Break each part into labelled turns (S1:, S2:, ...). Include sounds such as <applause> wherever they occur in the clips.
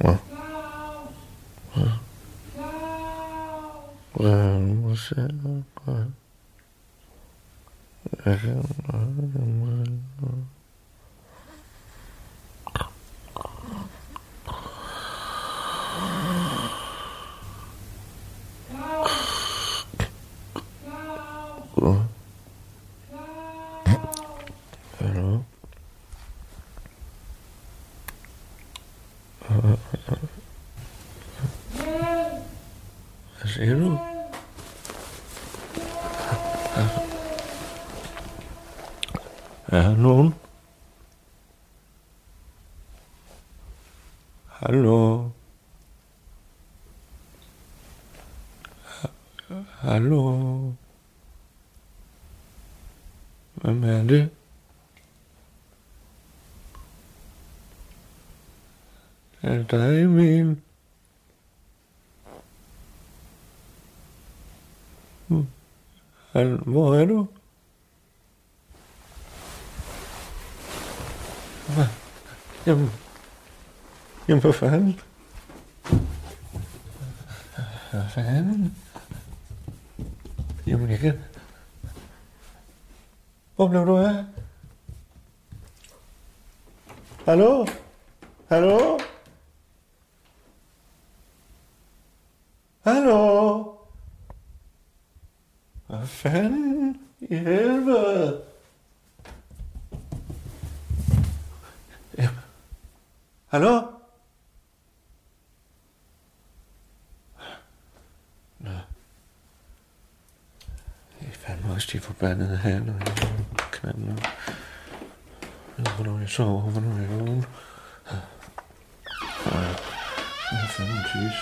S1: 嗯 Hvad siger du? Er der nogen? Hallo? Ha- Hallo? Hvem er det? Er det dig, Emil? Hmm. Hal- Hvor er du? Hvad? Jamen, jamen for fanden. Hvad fanden? Jamen, jeg kan... Hvor blev du af? Hallo? Hallo? Hallo? Hvad fanden i helvede? Ja. Hallo? Nå. Jeg er fandme også de forbandede her, når jeg knalder. Jeg ved, hvornår jeg sover, og hvornår jeg er vågen. Ja. er Hvad fanden tis?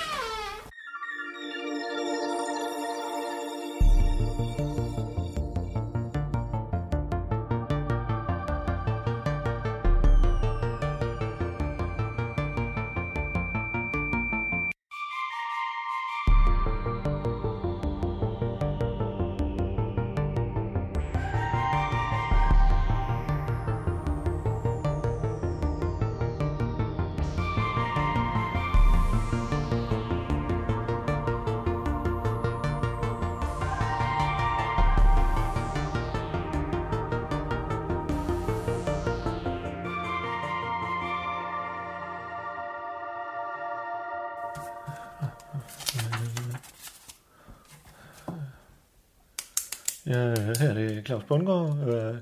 S1: Ja, her er det Claus Bundgaard. Øh,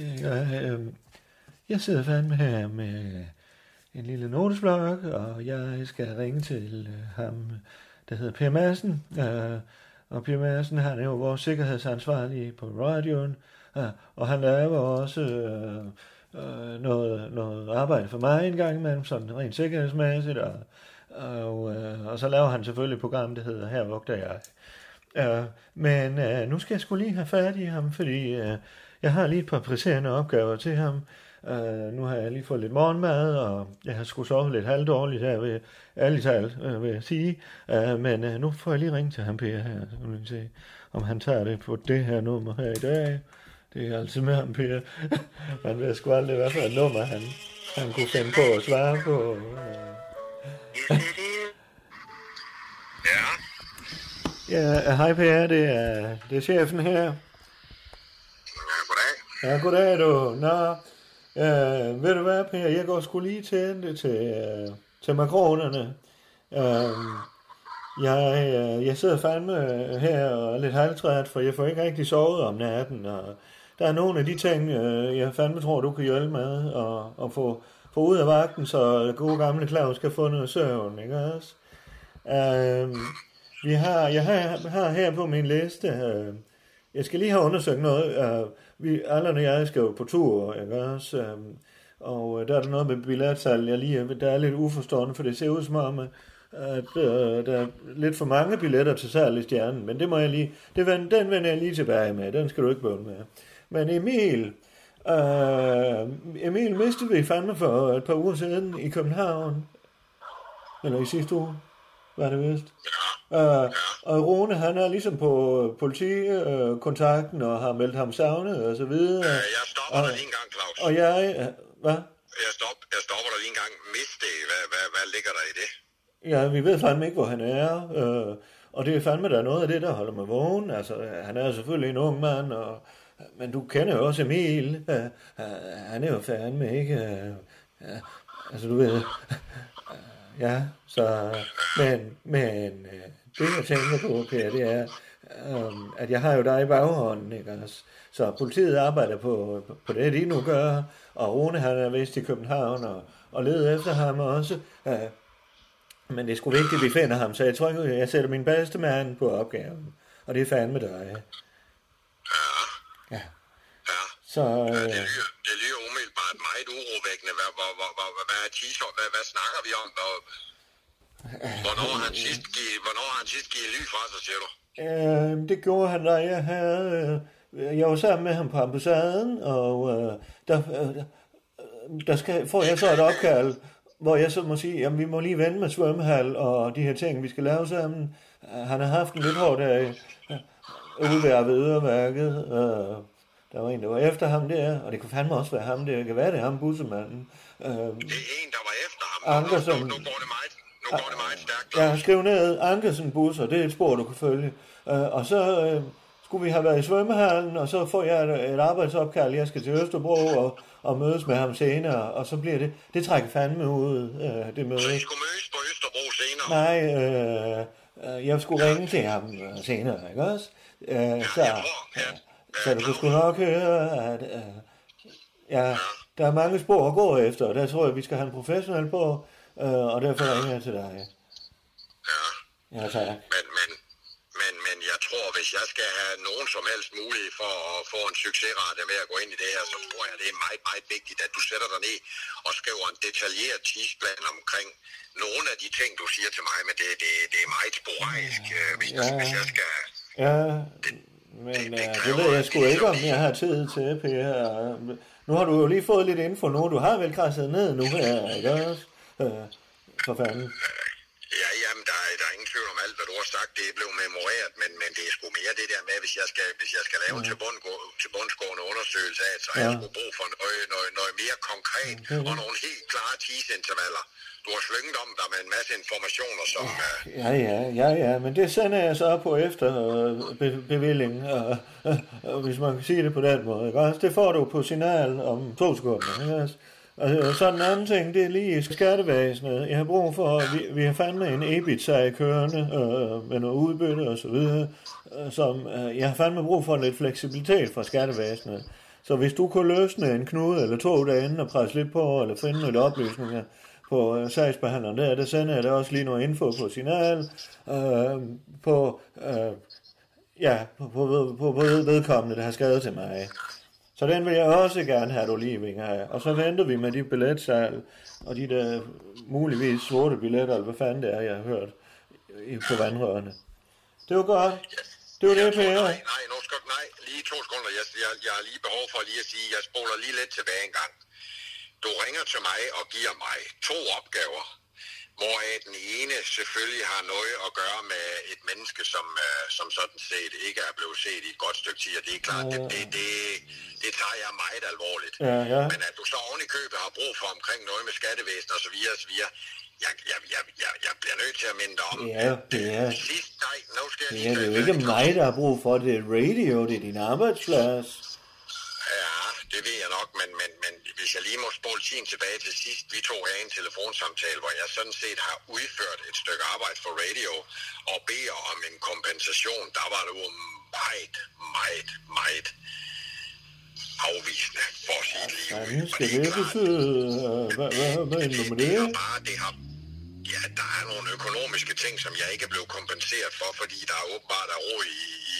S1: Jeg, jeg, øh, jeg sidder fandme her med en lille notesblok, og jeg skal ringe til øh, ham, der hedder Per Madsen. Øh, Og Per Madsen, han er jo vores sikkerhedsansvarlige på radioen, øh, og han laver også øh, øh, noget, noget arbejde for mig en gang imellem, sådan rent sikkerhedsmæssigt, og, og, øh, og så laver han selvfølgelig et program, der hedder Her vugter jeg. Ja, men øh, nu skal jeg skulle lige have fat i ham, fordi øh, jeg har lige et par presserende opgaver til ham. Øh, nu har jeg lige fået lidt morgenmad, og jeg har skulle sove lidt halvdårligt her, ved, ærligt talt, øh, vil jeg sige. Øh, men øh, nu får jeg lige ringe til ham, Per, her, så må vi se, om han tager det på det her nummer her i dag. Det er altid med ham, Per. <laughs> Man ved sgu aldrig, hvad for et nummer han, han kunne finde på at svare på. Øh.
S2: Ja,
S1: Ja, hej Per, det er, det er chefen her.
S2: ja goddag.
S1: Ja, goddag du. Nå, øh, ved du hvad, Per, jeg går sgu lige til det til, øh, til makronerne. Øh, jeg, øh, jeg sidder fandme øh, her og er lidt halvtræt, for jeg får ikke rigtig sovet om natten, og der er nogle af de ting, øh, jeg fandme tror, du kan hjælpe med og, og få, få ud af vagten, så gode gamle Claus kan få noget søvn, ikke også? Øh, vi har, jeg har, har her på min liste, øh, jeg skal lige have undersøgt noget. Øh, vi, Allan og jeg skal jo på tur, ikke også? Øh, og øh, der er der noget med billetsalg, jeg lige, er- der er lidt uforstående, for det ser ud som om, øh, at øh, der er lidt for mange billetter til salg i stjernen, men det må jeg lige, det vend, den vender jeg lige tilbage med, den skal du ikke bøvle med. Men Emil, øh, Emil mistede vi fandme for øh, et par uger siden i København, eller i sidste uge, var det vist. Øh, og Rune, han er ligesom på politikontakten øh, og har meldt ham savnet og så videre.
S2: Øh, Jeg stopper dig lige en gang, Claus.
S1: Og jeg... øh, Hvad?
S2: Jeg, stop, jeg stopper dig lige en gang. Miste, hvad, hvad, hvad ligger der i det?
S1: Ja, vi ved fandme ikke, hvor han er. Øh, Og det er fandme der er noget af det, der holder mig vågen. Altså, han er jo selvfølgelig en ung mand, og, men du kender jo også Emil. Øh, øh, han er jo fandme ikke... Øh, øh, altså, du ved... Ja, så... Men, men øh, det, jeg tænker på, Per, det er, øhm, at jeg har jo dig i baghånden, ikke også? Så politiet arbejder på, på det, de nu gør, og Rune han er vist i København og, og leder efter ham også. Øh, men det er sgu vigtigt, at vi finder ham, så jeg tror ikke, jeg sætter min bedste mand på opgaven. Og det er fandme dig. Ja.
S2: Ja.
S1: Så
S2: Øh, Det
S1: øh,
S2: lyder, det lyder umiddelbart meget urovækkende. Hvad, hvad, hvad, hvad, hvad, hvad er t-shirt? Hvad, hvad snakker vi om? Hvad, hvornår har han sidst givet, hvornår har han sidst givet ly fra sig, siger du?
S1: øh, det gjorde han, da jeg havde... Øh, jeg var sammen med ham på ambassaden, og øh, der, øh, øh, der skal, får jeg så et opkald, hvor jeg så må sige, jamen vi må lige vende med svømmehal og de her ting, vi skal lave sammen. Øh, Han har haft en lidt hård dag. Øh, ude ved Avedøreværket. Øh, der var en, der var efter ham der, og det kunne fandme også være ham der. Det kan være, det er ham, bussemanden. Øh,
S2: Det er en, der var efter ham.
S1: Andersen.
S2: Nu, nu, nu går det meget, nu går det meget stærkt.
S1: Jeg har skrevet ned Ankersen busser, det er et spor, du kan følge. Øh, og så øh, skulle vi have været i svømmehallen, og så får jeg et, et arbejdsopkald, jeg skal til Østerbro og, og mødes med ham senere, og så bliver det, det trækker fandme ud, øh, det møde.
S2: Så I skulle mødes på Østerbro senere.
S1: Nej, øh, øh, jeg skulle ringe til ham øh, senere, ikke også? Øh, så,
S2: jeg tror, ja.
S1: så du kan sgu nok høre, at øh, ja, der er mange spor at gå efter, og der tror jeg, vi skal have en professionel på, øh, og derfor ringer jeg til dig.
S2: Ja.
S1: Ja, tak.
S2: Men, men, men, men jeg tror, hvis jeg skal have nogen som helst mulighed for at få en succesrate med at gå ind i det her, så tror jeg, det er meget, meget vigtigt, at du sætter dig ned og skriver en detaljeret tidsplan omkring nogle af de ting, du siger til mig, men det, det, det er meget sporadisk, øh, hvis, ja.
S1: Ja.
S2: hvis jeg skal...
S1: Ja, men øh, det ved jeg sgu ikke, om jeg har tid til, Per. Øh, Nu har du jo lige fået lidt info nu. Du har vel krasset ned nu her, ikke også? Øh, for fanden.
S2: Ja, jamen, der, er- der er ingen tvivl om alt, hvad du har sagt, det er blevet memoreret, men, men det er sgu mere det der med, hvis jeg skal, hvis jeg skal lave en til, bund, til bundsgående undersøgelse af, så har jeg
S1: Ja.
S2: sgu brug for noget, noget, noget mere konkret og nogle helt klare tidsintervaller. Du har slynget om dig med en masse informationer, som... øh,
S1: Ja, ja, ja, ja, men det sender jeg så på efter øh, be- bevilling, øh, øh, øh, hvis man kan sige det på den måde, ikke også? Det får du på signal om to sekunder, ikke også? Og øh, så den anden ting, det er lige skattevæsenet. Jeg har brug for, at vi, vi har fandme en EBIT-sag kørende øh, med noget udbytte og så videre, øh, som øh, jeg har fandme brug for lidt fleksibilitet fra skattevæsenet. Så hvis du kunne løsne en knude eller to derinde og presse lidt på, eller finde nogle oplysninger, på øh, sagsbehandleren der, der sender jeg da også lige noget info på signal, øh, på, øh, ja, på, på, ved- på, på ved- vedkommende, der har skadet til mig. Så den vil jeg også gerne have, du lige vinger af. Og så venter vi med de billetsal, og de der muligvis sorte billetter, eller hvad fanden det er, jeg har hørt i- på vandrørene. Det var godt. Det var
S2: jeg
S1: det,
S2: tror-
S1: Per.
S2: Nej, nej, nu skal nej. Lige to sekunder. Jeg, jeg, jeg har lige behov for lige at sige, jeg spoler lige lidt tilbage en gang. Du ringer til mig og giver mig to opgaver, hvoraf den ene selvfølgelig har noget at gøre med et menneske, som, øh, som sådan set ikke er blevet set i et godt stykke tid, og det er klart, det, det, det, det tager jeg meget alvorligt.
S1: Ja, ja.
S2: Men at du så oven i købet har brug for omkring noget med skattevæsen og så videre, og så videre, jeg, jeg, jeg, jeg, jeg bliver nødt til at minde dig om,
S1: Ja, det er,
S2: sidst, nej, nu skal jeg
S1: det
S2: lige
S1: er
S2: tage
S1: det jo
S2: fat i
S1: ikke mig, der har brug for det. Det er radio, det er din arbejdsplads.
S2: Ja, det ved jeg nok, men, men, men hvis jeg lige må spole tiden tilbage til sidst, vi tog her en telefonsamtale, hvor jeg sådan set har udført et stykke arbejde for radio og beder om en kompensation, der var det jo meget, meget, meget afvisende for at sige det lige ud.
S1: Fanden
S2: Og
S1: skal
S2: er
S1: det
S2: klart,
S1: betyde? Øh, Hvad, hvad, hvad mener du med
S2: det er
S1: det?
S2: bare, det har... Ja, der er nogle økonomiske ting, som jeg ikke blev kompenseret for, fordi der er åbenbart er ro i, i,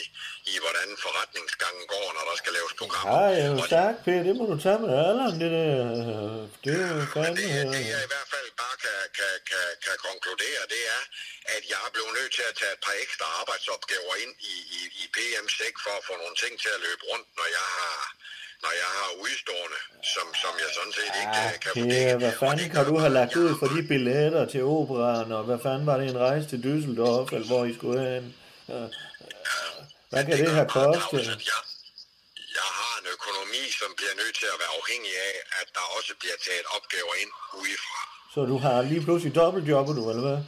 S2: i, hvordan forretningsgangen går, når der skal laves programmer.
S1: Ja, jeg er jo
S2: Og
S1: stærk, Per. Det må du tage med alderen, det der. Øh, Det er jo
S2: Men det,
S1: fandme...
S2: det jeg
S1: øh,
S2: i hvert fald bare kan, kan, kan, kan konkludere, det er, at jeg er blevet nødt til at tage et par ekstra arbejdsopgaver ind i, i, i PM6 for at få nogle ting til at løbe rundt, når jeg har, når jeg har udstående, som, som jeg sådan set ikke øh,
S1: Ja,
S2: kan, kan
S1: Per, hvad
S2: Og
S1: fanden
S2: det
S1: kan
S2: gør
S1: du have
S2: bare,
S1: lagt
S2: at jeg
S1: ud for de billetter til operan, og hvad fanden var det en rejse til Düsseldorf, eller hvor I skulle hen? Øh, øh, Hvad kan det
S2: gør
S1: have
S2: bare
S1: kostet?
S2: tavs, at Jeg, jeg har en økonomi, som bliver nødt til at være afhængig af, at der også bliver taget opgaver ind udefra.
S1: Så du har lige pludselig dobbeltjobbet nu, eller hvad?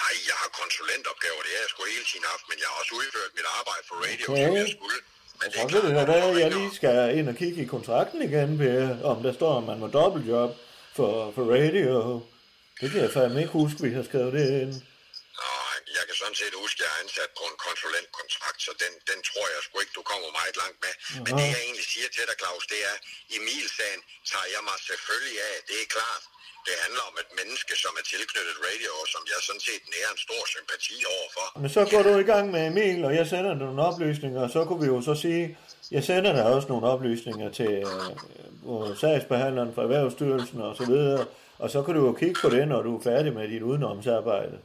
S2: Nej, jeg har konsulentopgaver, det er jeg sgu hele tiden haft, men jeg har også udført mit arbejde for radio,
S1: Okay.
S2: okay. som jeg skulle. Men
S1: Jeg tror, det er
S2: når
S1: da,
S2: man
S1: jeg
S2: ringer-
S1: lige skal ind og kigge i kontrakten igen, Per, om der står, at man må dobbeltjob for, for radio. Det kan jeg fandme ikke huske, vi har skrevet det ind.
S2: Nej, jeg kan sådan set huske, at jeg er ansat på en konsulentkontrakt, så den, den tror jeg sgu ikke, du kommer meget langt med. Men det, jeg egentlig siger til dig, Claus, det er, Emil-sagen tager jeg mig selvfølgelig af, det er klart. Det handler om et menneske, som er tilknyttet radio, og som jeg sådan set nærer en stor sympati overfor.
S1: Men så går du i gang med Emil, og jeg sender dig nogle oplysninger, og så kunne vi jo så sige, jeg sender dig også nogle oplysninger til øh, øh, sagsbehandleren fra Erhvervsstyrelsen og så videre, og så kan du jo kigge på det, når du er færdig med dit udenomsarbejde.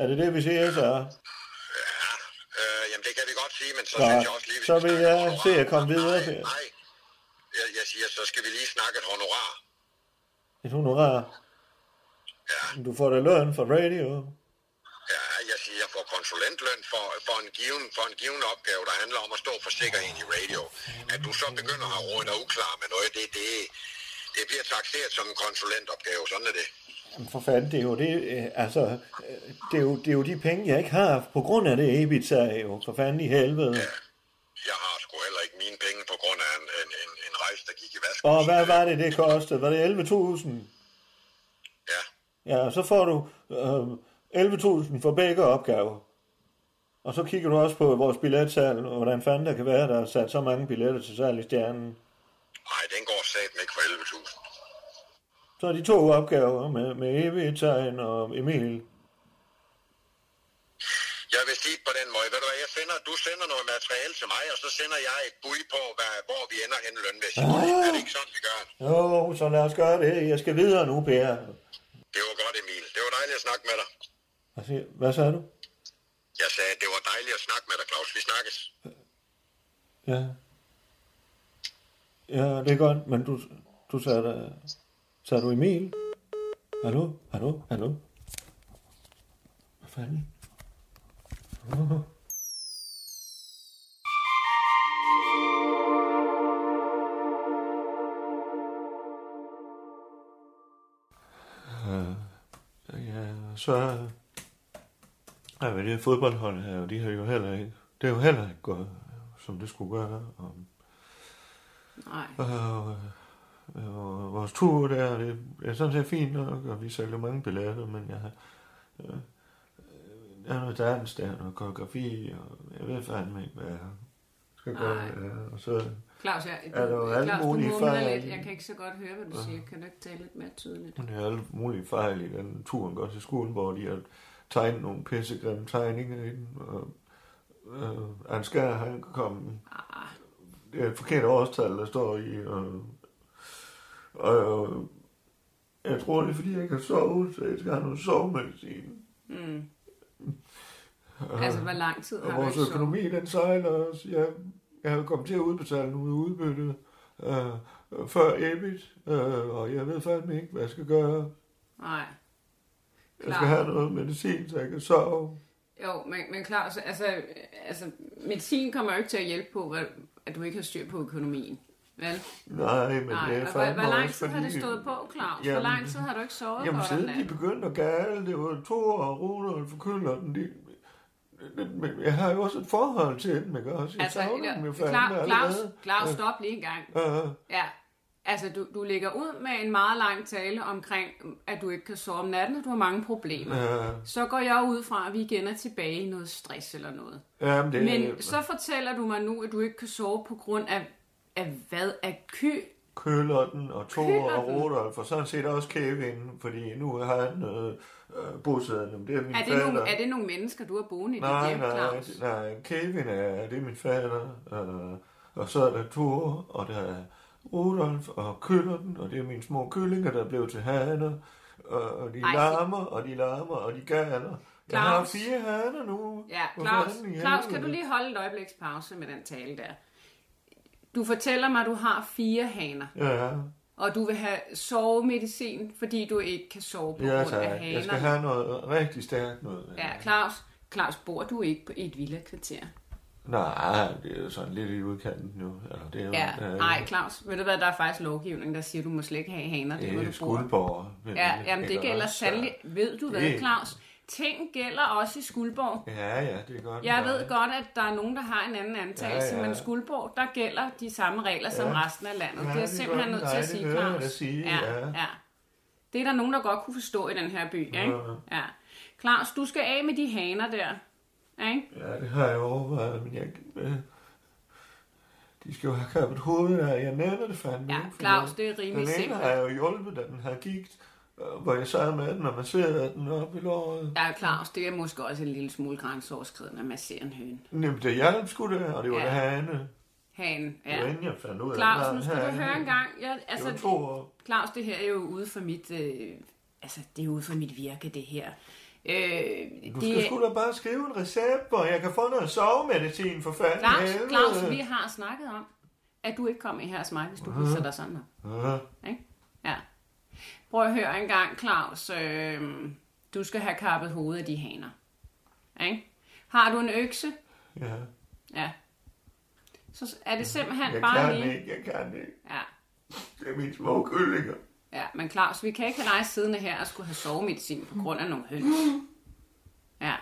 S1: Er det det, vi siger så?
S2: Ja, øh, jamen det kan vi godt sige, men så
S1: Nej,
S2: synes jeg også lige... vi
S1: så
S2: skal
S1: vil
S2: snakke
S1: jeg
S2: honorar.
S1: se at komme videre
S2: Nej,
S1: til-
S2: nej. Jeg, jeg siger, så skal vi lige snakke et honorar.
S1: Et honorar.
S2: Ja.
S1: Du får da løn fra radio.
S2: Ja, jeg siger, jeg får konsulentløn for, for, en given, for en given opgave, der handler om at stå for sikkerheden i radio. At du så begynder at råde dig uklar med noget, det, det, det bliver taxeret som en konsulentopgave, sådan er det.
S1: Jamen for fanden, det er jo det, øh, altså, øh, det er jo, det er jo de penge, jeg ikke har, på grund af det Ibiza jo, for fanden i helvede.
S2: Jeg har sgu heller ikke mine penge på grund af en, en, en, en rejse, der gik i vasken.
S1: Og hvad var det, det kostede? Var det 11.000?
S2: Ja,
S1: Ja, så får du øh, 11.000 for begge opgaver. Og så kigger du også på vores billetsal, og hvordan fanden der kan være, der er sat så mange billetter til salg i stjernen.
S2: nej, den går sat ikke for 11.000.
S1: Så er de to opgaver med, med Ibizaen og Emil.
S2: Jeg vil sige på den måde, ved du hvad, jeg sender, du sender noget materiale til mig, og så sender jeg et bud på, hvad, hvor vi ender henne lønmæssigt.
S1: Ah.
S2: Er det ikke sådan, vi gør?
S1: Jo, så lad os gøre det. Jeg skal videre nu, Per.
S2: Det var godt, Emil. Det var dejligt at snakke med dig.
S1: Hvad siger- Hvad sagde du?
S2: Jeg sagde, det var dejligt at snakke med dig, Claus. Vi snakkes.
S1: Ja. Ja, det er godt, men du, du sagde da... Sagde du Emil? Hallo? Hallo? Hallo? Hvad fanden? Åh. Øh, Ja, så Ja, men det fodboldhold her, og de har jo heller ikke, det er jo heller ikke gået, som det skulle gøre. Og,
S3: Nej.
S1: og, og vores tur der, det er sådan set fint nok, og vi sælger mange billetter, men jeg har... øh, Der er noget dans, der er noget koreografi, og jeg ved fandme ikke, hvad jeg skal gøre.
S3: Nej.
S1: Ja, og så,
S3: Claus, jeg,
S1: Er der jo alle
S3: Claus, du
S1: mulige
S3: mumler
S1: fejl?
S3: lidt. Jeg kan ikke så godt høre, hvad du siger. Kan du ikke tale lidt mere tydeligt?
S1: Men det er alle mulige fejl i den turen går til skolen, hvor de har tegnet nogle pissegrimme tegninger i den. Og, øh, Hans Skær, han kom...
S3: Ah.
S1: Det er et forkert årstal, der står i. Og, og, og jeg tror, det er fordi, jeg ikke har sovet, så jeg skal have noget sovemedicin.
S3: Mm. Altså, hvor lang tid
S1: Og
S3: har du
S1: vores
S3: ikke sovet?
S1: økonomi, den sejler også. Jeg, jeg har kommet til at udbetale nogle udbytte øh, før EBIT, øh, og jeg ved fandme ikke, hvad jeg skal gøre.
S3: Nej.
S1: Jeg skal have noget medicin, så jeg kan sove.
S3: Jo, men, men Claus, altså, altså, medicin kommer jo ikke til at hjælpe på, hvad, at du ikke har styr på økonomien. Vel?
S1: Nej, men det
S3: Nej,
S1: er
S3: og hvor,
S1: fandme
S3: hvor lang
S1: også,
S3: tid har det
S1: fordi-
S3: stået på, Claus?
S1: Jamen,
S3: hvor lang tid har du ikke sovet godt
S1: Jamen,
S3: om
S1: siden de
S3: natten?
S1: begyndte at gale, det var to og Rudolf og Kølleren, de, men jeg har jo også et forhold til dem, ikke også? Jeg
S3: Altså,
S1: savner dem jo fandme
S3: Claus, Claus,
S1: allerede.
S3: Claus, stop lige en gang.
S1: Øh,
S3: Ja, altså du, du ligger ud med en meget lang tale omkring, at du ikke kan sove om natten, og du har mange problemer.
S1: øh,
S3: Så går jeg ud fra, at vi igen er tilbage i noget stress eller noget.
S1: jamen, det,
S3: Men så fortæller du mig nu, at du ikke kan sove på grund af, af hvad? Af ky?
S1: Kølleren og Thor og
S3: Køllerten?
S1: Rudolf, og sådan set også Kevin, fordi nu har han øh, øh, bosiddende, det er min
S3: Er det,
S1: fatter.
S3: nogle, er det nogle mennesker, du har boende i dit
S1: Nej,
S3: hjem,
S1: nej,
S3: Claus?
S1: nej. Kevin er, det er min fader. Øh, og så er der Thor, og der er Rudolf og Køllerten, og det er mine små kyllinger, der blev til haner. Og, og de
S3: Ej, det-
S1: larmer, og de larmer, og de galer. Jeg har
S3: Claus.
S1: fire haner nu.
S3: Ja,
S1: Hvor
S3: Claus,
S1: fanden i
S3: Claus,
S1: helvede?
S3: kan du lige holde et øjebliks pause med den tale der? Du fortæller mig, at du har fire haner,
S1: Ja,
S3: og du vil have sovemedicin, fordi du ikke kan sove på
S1: ja
S3: grund af
S1: tak. Jeg
S3: hanerne.
S1: skal have noget rigtig stærkt noget.
S3: Ja, Claus, Claus, bor du ikke på i et villa-kvarter?
S1: Nej, det er jo sådan lidt i udkanten nu. Eller, det er jo,
S3: Ja,
S1: øh,
S3: nej, Claus. Ved du hvad, der er faktisk lovgivning, der siger, at
S1: Øh,
S3: du må slet ikke have haner, det er, hvor
S1: Det er
S3: du bor.
S1: skuldborg.
S3: Ja, jamen det gælder sandelig. Ved du hvad,
S1: Det-
S3: Claus? ting gælder også i Skuldborg.
S1: Ja, ja, det er godt.
S3: Jeg ved godt, at der er nogen, der har en anden antagelse,
S1: Ja,
S3: ja,
S1: ja.
S3: ja. men Skuldborg, der gælder de samme regler ja. som
S1: Ja.
S3: resten af landet.
S1: Ja,
S3: Ja, det er
S1: det er
S3: jeg simpelthen
S1: godt.
S3: nødt til
S1: Nej,
S3: at
S1: det
S3: sige,
S1: hører jeg
S3: Claus.
S1: dig sige, ja.
S3: ja. Det er der nogen, der godt kunne forstå i den her by. Ikke? Ja. Claus, du skal af med de haner der. Ikke?
S1: Ja, det har jeg overvejet, men jeg... Øh, de skal jo have kappet hovedet af. Jeg nævner det fandme.
S3: Ja,
S1: ikke, for
S3: Claus,
S1: jeg-
S3: det er rimelig
S1: Den ene
S3: simpelt.
S1: har jeg jo hjulpet, da den har gigt, øh, hvor jeg sad med den og masserede den op i låret.
S3: Ja, Claus, det er måske også en lille smule grænseoverskridende at massere en høne.
S1: Jamen, det hjalp sgu det, og det var ja.
S3: Ja.
S1: det hane.
S3: Hanen,
S1: Ja. Det var
S3: ja.
S1: inden jeg fandt ud af,
S3: Claus,
S1: der
S3: nu
S1: er
S3: skal du
S1: hane.
S3: høre en gang. Ja,
S1: Det
S3: altså,
S1: var to år.
S3: Claus, det her er jo ude for mit... Øh, altså, det er ude for mit virke, det her. Øh,
S1: Du
S3: det,
S1: skal sgu da bare skrive en recept, hvor jeg kan få noget sovemedicin for fanden.
S3: Claus,
S1: helvede.
S3: Claus, vi har snakket om, at du ikke kommer i her og smag, hvis du
S1: Mhm.
S3: viser dig sådan op.
S1: Ja.
S3: Ikke? Ja. Prøv at høre en gang, Claus. Øh, du skal have kappet hovedet af de haner. Ikke? Har du en økse?
S1: ja.
S3: Ja. Så er det simpelthen
S1: Jeg
S3: bare
S1: kan
S3: lige...
S1: ikke, jeg kan ikke.
S3: Ja.
S1: Det er mine små kyllinger.
S3: ja, men Claus, vi kan ikke have dig siddende her og skulle have sovemedicin på grund af nogle
S1: <gasps>
S3: høns. Ja.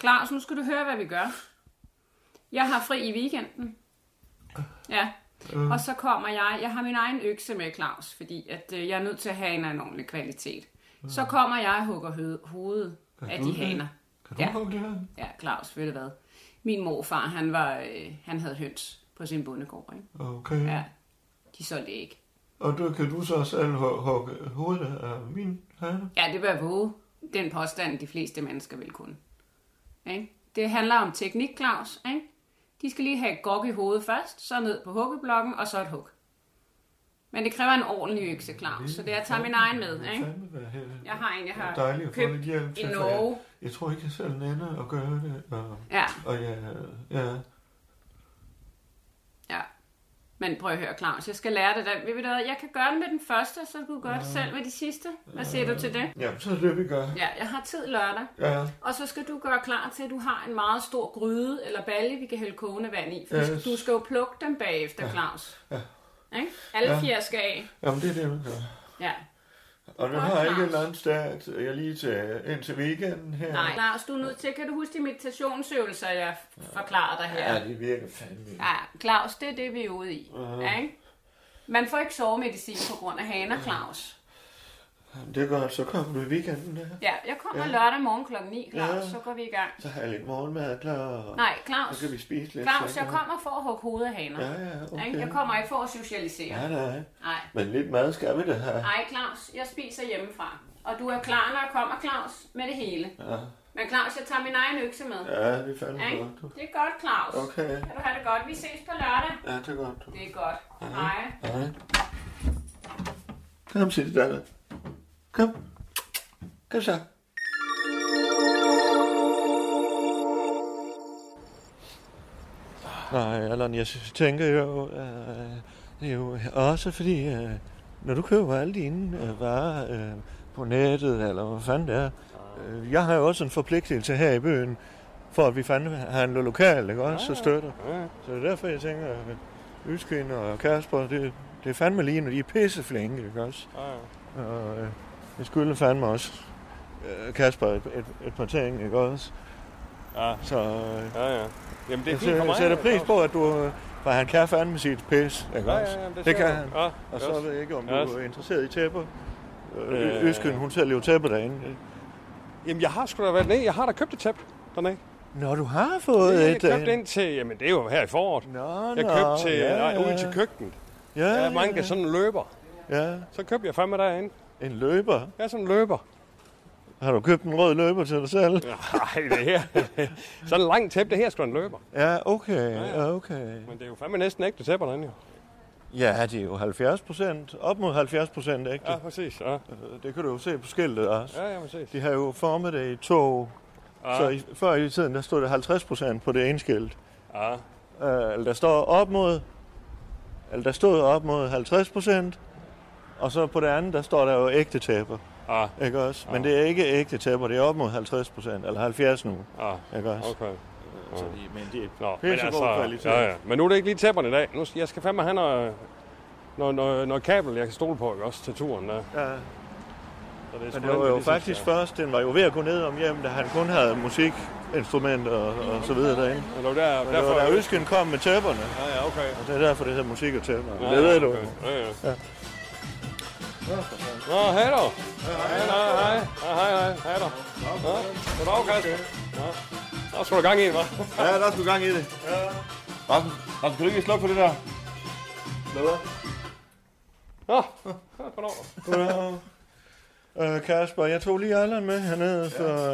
S3: Claus, nu skal du høre, hvad vi gør. Jeg har fri i weekenden. Ja.
S1: Øh.
S3: Og så kommer jeg, jeg har min egen økse med Claus, fordi at, øh, jeg er nødt til at have en af en ordentlig kvalitet. Så kommer jeg og hugger hø- hovedet af
S1: Øh. du
S3: de
S1: det?
S3: haner.
S1: Kan du
S3: Ja.
S1: hukke det her?
S3: Ja, Claus, ved du hvad? Min morfar, han, var, øh, han havde høns på sin bondegård, ikke?
S1: Okay.
S3: Ja, de solgte ikke.
S1: Og du kan du så selv hu- hugge hovedet af min hane?
S3: Ja, det vil jeg våge. Den påstand, de fleste mennesker vil kunne. Ikke? Det handler om teknik, Claus. Ikke? De skal lige have et gok i hovedet først, så ned på hukkeblokken, og så et hug. Men det kræver en ordentlig økse, Claus, så det jeg tager min egen med. Ikke? Jeg har en, jeg har
S1: det er dejligt at få lidt
S3: købt
S1: hjælp
S3: i
S1: til, for
S3: Norge.
S1: jeg, jeg tror ikke, jeg selv nænder at gøre det. Og,
S3: Ja,
S1: og ja, ja,
S3: ja. Men prøv at høre, Claus, jeg skal lære det. Der. Ved du hvad, Jeg kan gøre det med den første, så kan du gøre det selv med de sidste. Hvad siger du til det?
S1: ja, så er det, vi gør.
S3: Ja, jeg har tid lørdag.
S1: Ja,
S3: Og så skal du gøre klar til, at du har en meget stor gryde eller balje, vi kan hælde kogende vand i. For
S1: Yes.
S3: yes. du skal jo plukke dem bagefter, Claus. Ja. Ikke? Alle
S1: Ja.
S3: ja. fjer skal af.
S1: jamen det er det, vi gør.
S3: Ja.
S1: Og nu
S3: Godt,
S1: har jeg ikke
S3: Claus.
S1: en landstærkt, jeg lige til, indtil weekenden her.
S3: Nej, Claus, du er nødt til. Kan du huske de meditationsøvelser, jeg f- forklarede dig her?
S1: Ja, det virker fandme. Ja.
S3: Ja, Claus, det er det, vi er ude i. Ja, ikke? Man får ikke sovemedicin på grund af haner, Claus.
S1: Jamen, det er godt, så kommer du i weekenden her.
S3: Ja, jeg kommer ja. lørdag morgen kl. 9, Claus.
S1: Ja.
S3: Så går vi i gang.
S1: Så har jeg lidt morgenmad klar, og
S3: Nej,
S1: så
S3: Claus.
S1: skal vi spise lidt.
S3: Claus, jeg
S1: senere.
S3: kommer for at hugge hovedet af haner.
S1: Ja, ja, okay.
S3: Ikke? Jeg kommer ikke for at socialisere.
S1: Ja, nej.
S3: Nej.
S1: Men lidt mad skal vi da have.
S3: Ej, Claus, jeg spiser hjemmefra. Og du er klar, når jeg kommer, Claus, med det hele.
S1: Ja,
S3: Men Claus, jeg tager min egen økse med.
S1: ja det er fandme
S3: ikke?
S1: godt. du.
S3: Det er godt, Claus.
S1: Okay.
S3: Kan du have det godt? Vi ses på lørdag.
S1: Ja, det er godt. Du.
S3: Det er godt. Hej.
S1: Nej. Kom, sig det der. Kom. Kom så. Nej, Allan, jeg tænker jo, øh, det er jo også fordi, øh, når du køber alle dine øh, varer øh, på nettet, eller hvad fanden det er, øh, jeg har jo også en forpligtelse her i byen, for at vi fandme handler lokalt, ikke også, så støtter. Så det er derfor, jeg tænker, øh, at Yskind og Kasper, det, det er fandme lige, når de er pisseflinke, ikke også? Og øh, jeg skylder fandme også øh, Kasper et, et, et par ting, ikke også?
S4: Ja.
S1: Så øh,
S4: Ja, ja. Jamen, det er
S1: jeg
S4: fint for
S1: sæ-
S4: mig.
S1: sætter pris
S4: Claus.
S1: på, at du... øh, For han kan fandme sit pis, ikke
S4: Ja,
S1: også?
S4: ja, ja, det,
S1: det
S4: ser
S1: kan
S4: jeg.
S1: han.
S4: Ja,
S1: Og så ved jeg ikke, om du
S4: Yes.
S1: er interesseret i tæpper. Øh,
S4: Øh.
S1: Øsken, hun sælger jo tæpper derinde.
S4: Jamen, jeg har sgu da været ned. Jeg har da købt et tæppe dernede.
S1: Nå, du har fået
S4: Jeg har
S1: et...
S4: købt
S1: øh,
S4: ind til... Jamen, det er jo her i foråret.
S1: Nå,
S4: Jeg
S1: nå,
S4: købte til...
S1: ja,
S4: Nej,
S1: ja.
S4: ude til køkkenet.
S1: Ja,
S4: Der er
S1: ja,
S4: mange sådan en løber.
S1: ja.
S4: Så købte jeg fandme derinde.
S1: En løber.
S4: Jeg er sådan en løber.
S1: Har du købt en rød løber til dig selv?
S4: <laughs> Nej, det her... sådan en lang tæppe, det her er sgu da en løber.
S1: Ja, okay,
S4: ja.
S1: ja, okay.
S4: Men det er jo fandme næsten ægte tæpper derinde, jo.
S1: Ja, det er jo 70 procent. Op mod 70 procent ægte.
S4: Ja, præcis. Ja,
S1: Øh, Det kan du jo se på skiltet også.
S4: ja, ja præcis.
S1: De har jo formet det i to.
S4: Ja.
S1: Så i, før i tiden, der stod det 50 procent på det ene skilt.
S4: Ja.
S1: Øh, Eller der står op mod... Eller der stod op mod 50 procent. Og så på det andet, der står der jo ægte tæpper.
S4: Ja,
S1: Ikke også? Men det er ikke ægte tæpper, det er op mod 50 procent. Eller 70 nu.
S4: ja.
S1: Ikke også?
S4: Okay.
S1: Så de, men det er
S4: Nå, altså,
S1: Pissegod kvalitet.
S4: Ja, ja. Men nu er det ikke lige tæpperne i dag. Nu, jeg skal fandme have noget, noget, noget, noget kabel, jeg kan stole på, ikke? også til turen. Der.
S1: Ja. Men det var jo faktisk først, den var jo ved at gå ned om hjem, da han kun havde musikinstrumenter og, og så videre derinde.
S4: Men det var der,
S1: Men det
S4: derfor...
S1: var da Øsken kom med tæpperne.
S4: Ja, ja, okay.
S1: Og det er derfor, det hedder musik og tæpper.
S4: Ja,
S1: det ved du.
S4: okay. Ja, ja. Nå, hej då. Hej, hej, hej. Hej, hej, hej. Hej då. Ja, Goddag, Kasper. Ja. Der er sgu da gang i, hva'?
S5: Ja, der er sgu gang i det. Ja. Rasmus, Rasmus, kan du ikke slukke for det der?
S4: Nå, goddag.
S1: Øh, Kasper, jeg tog lige Allan med hernede, for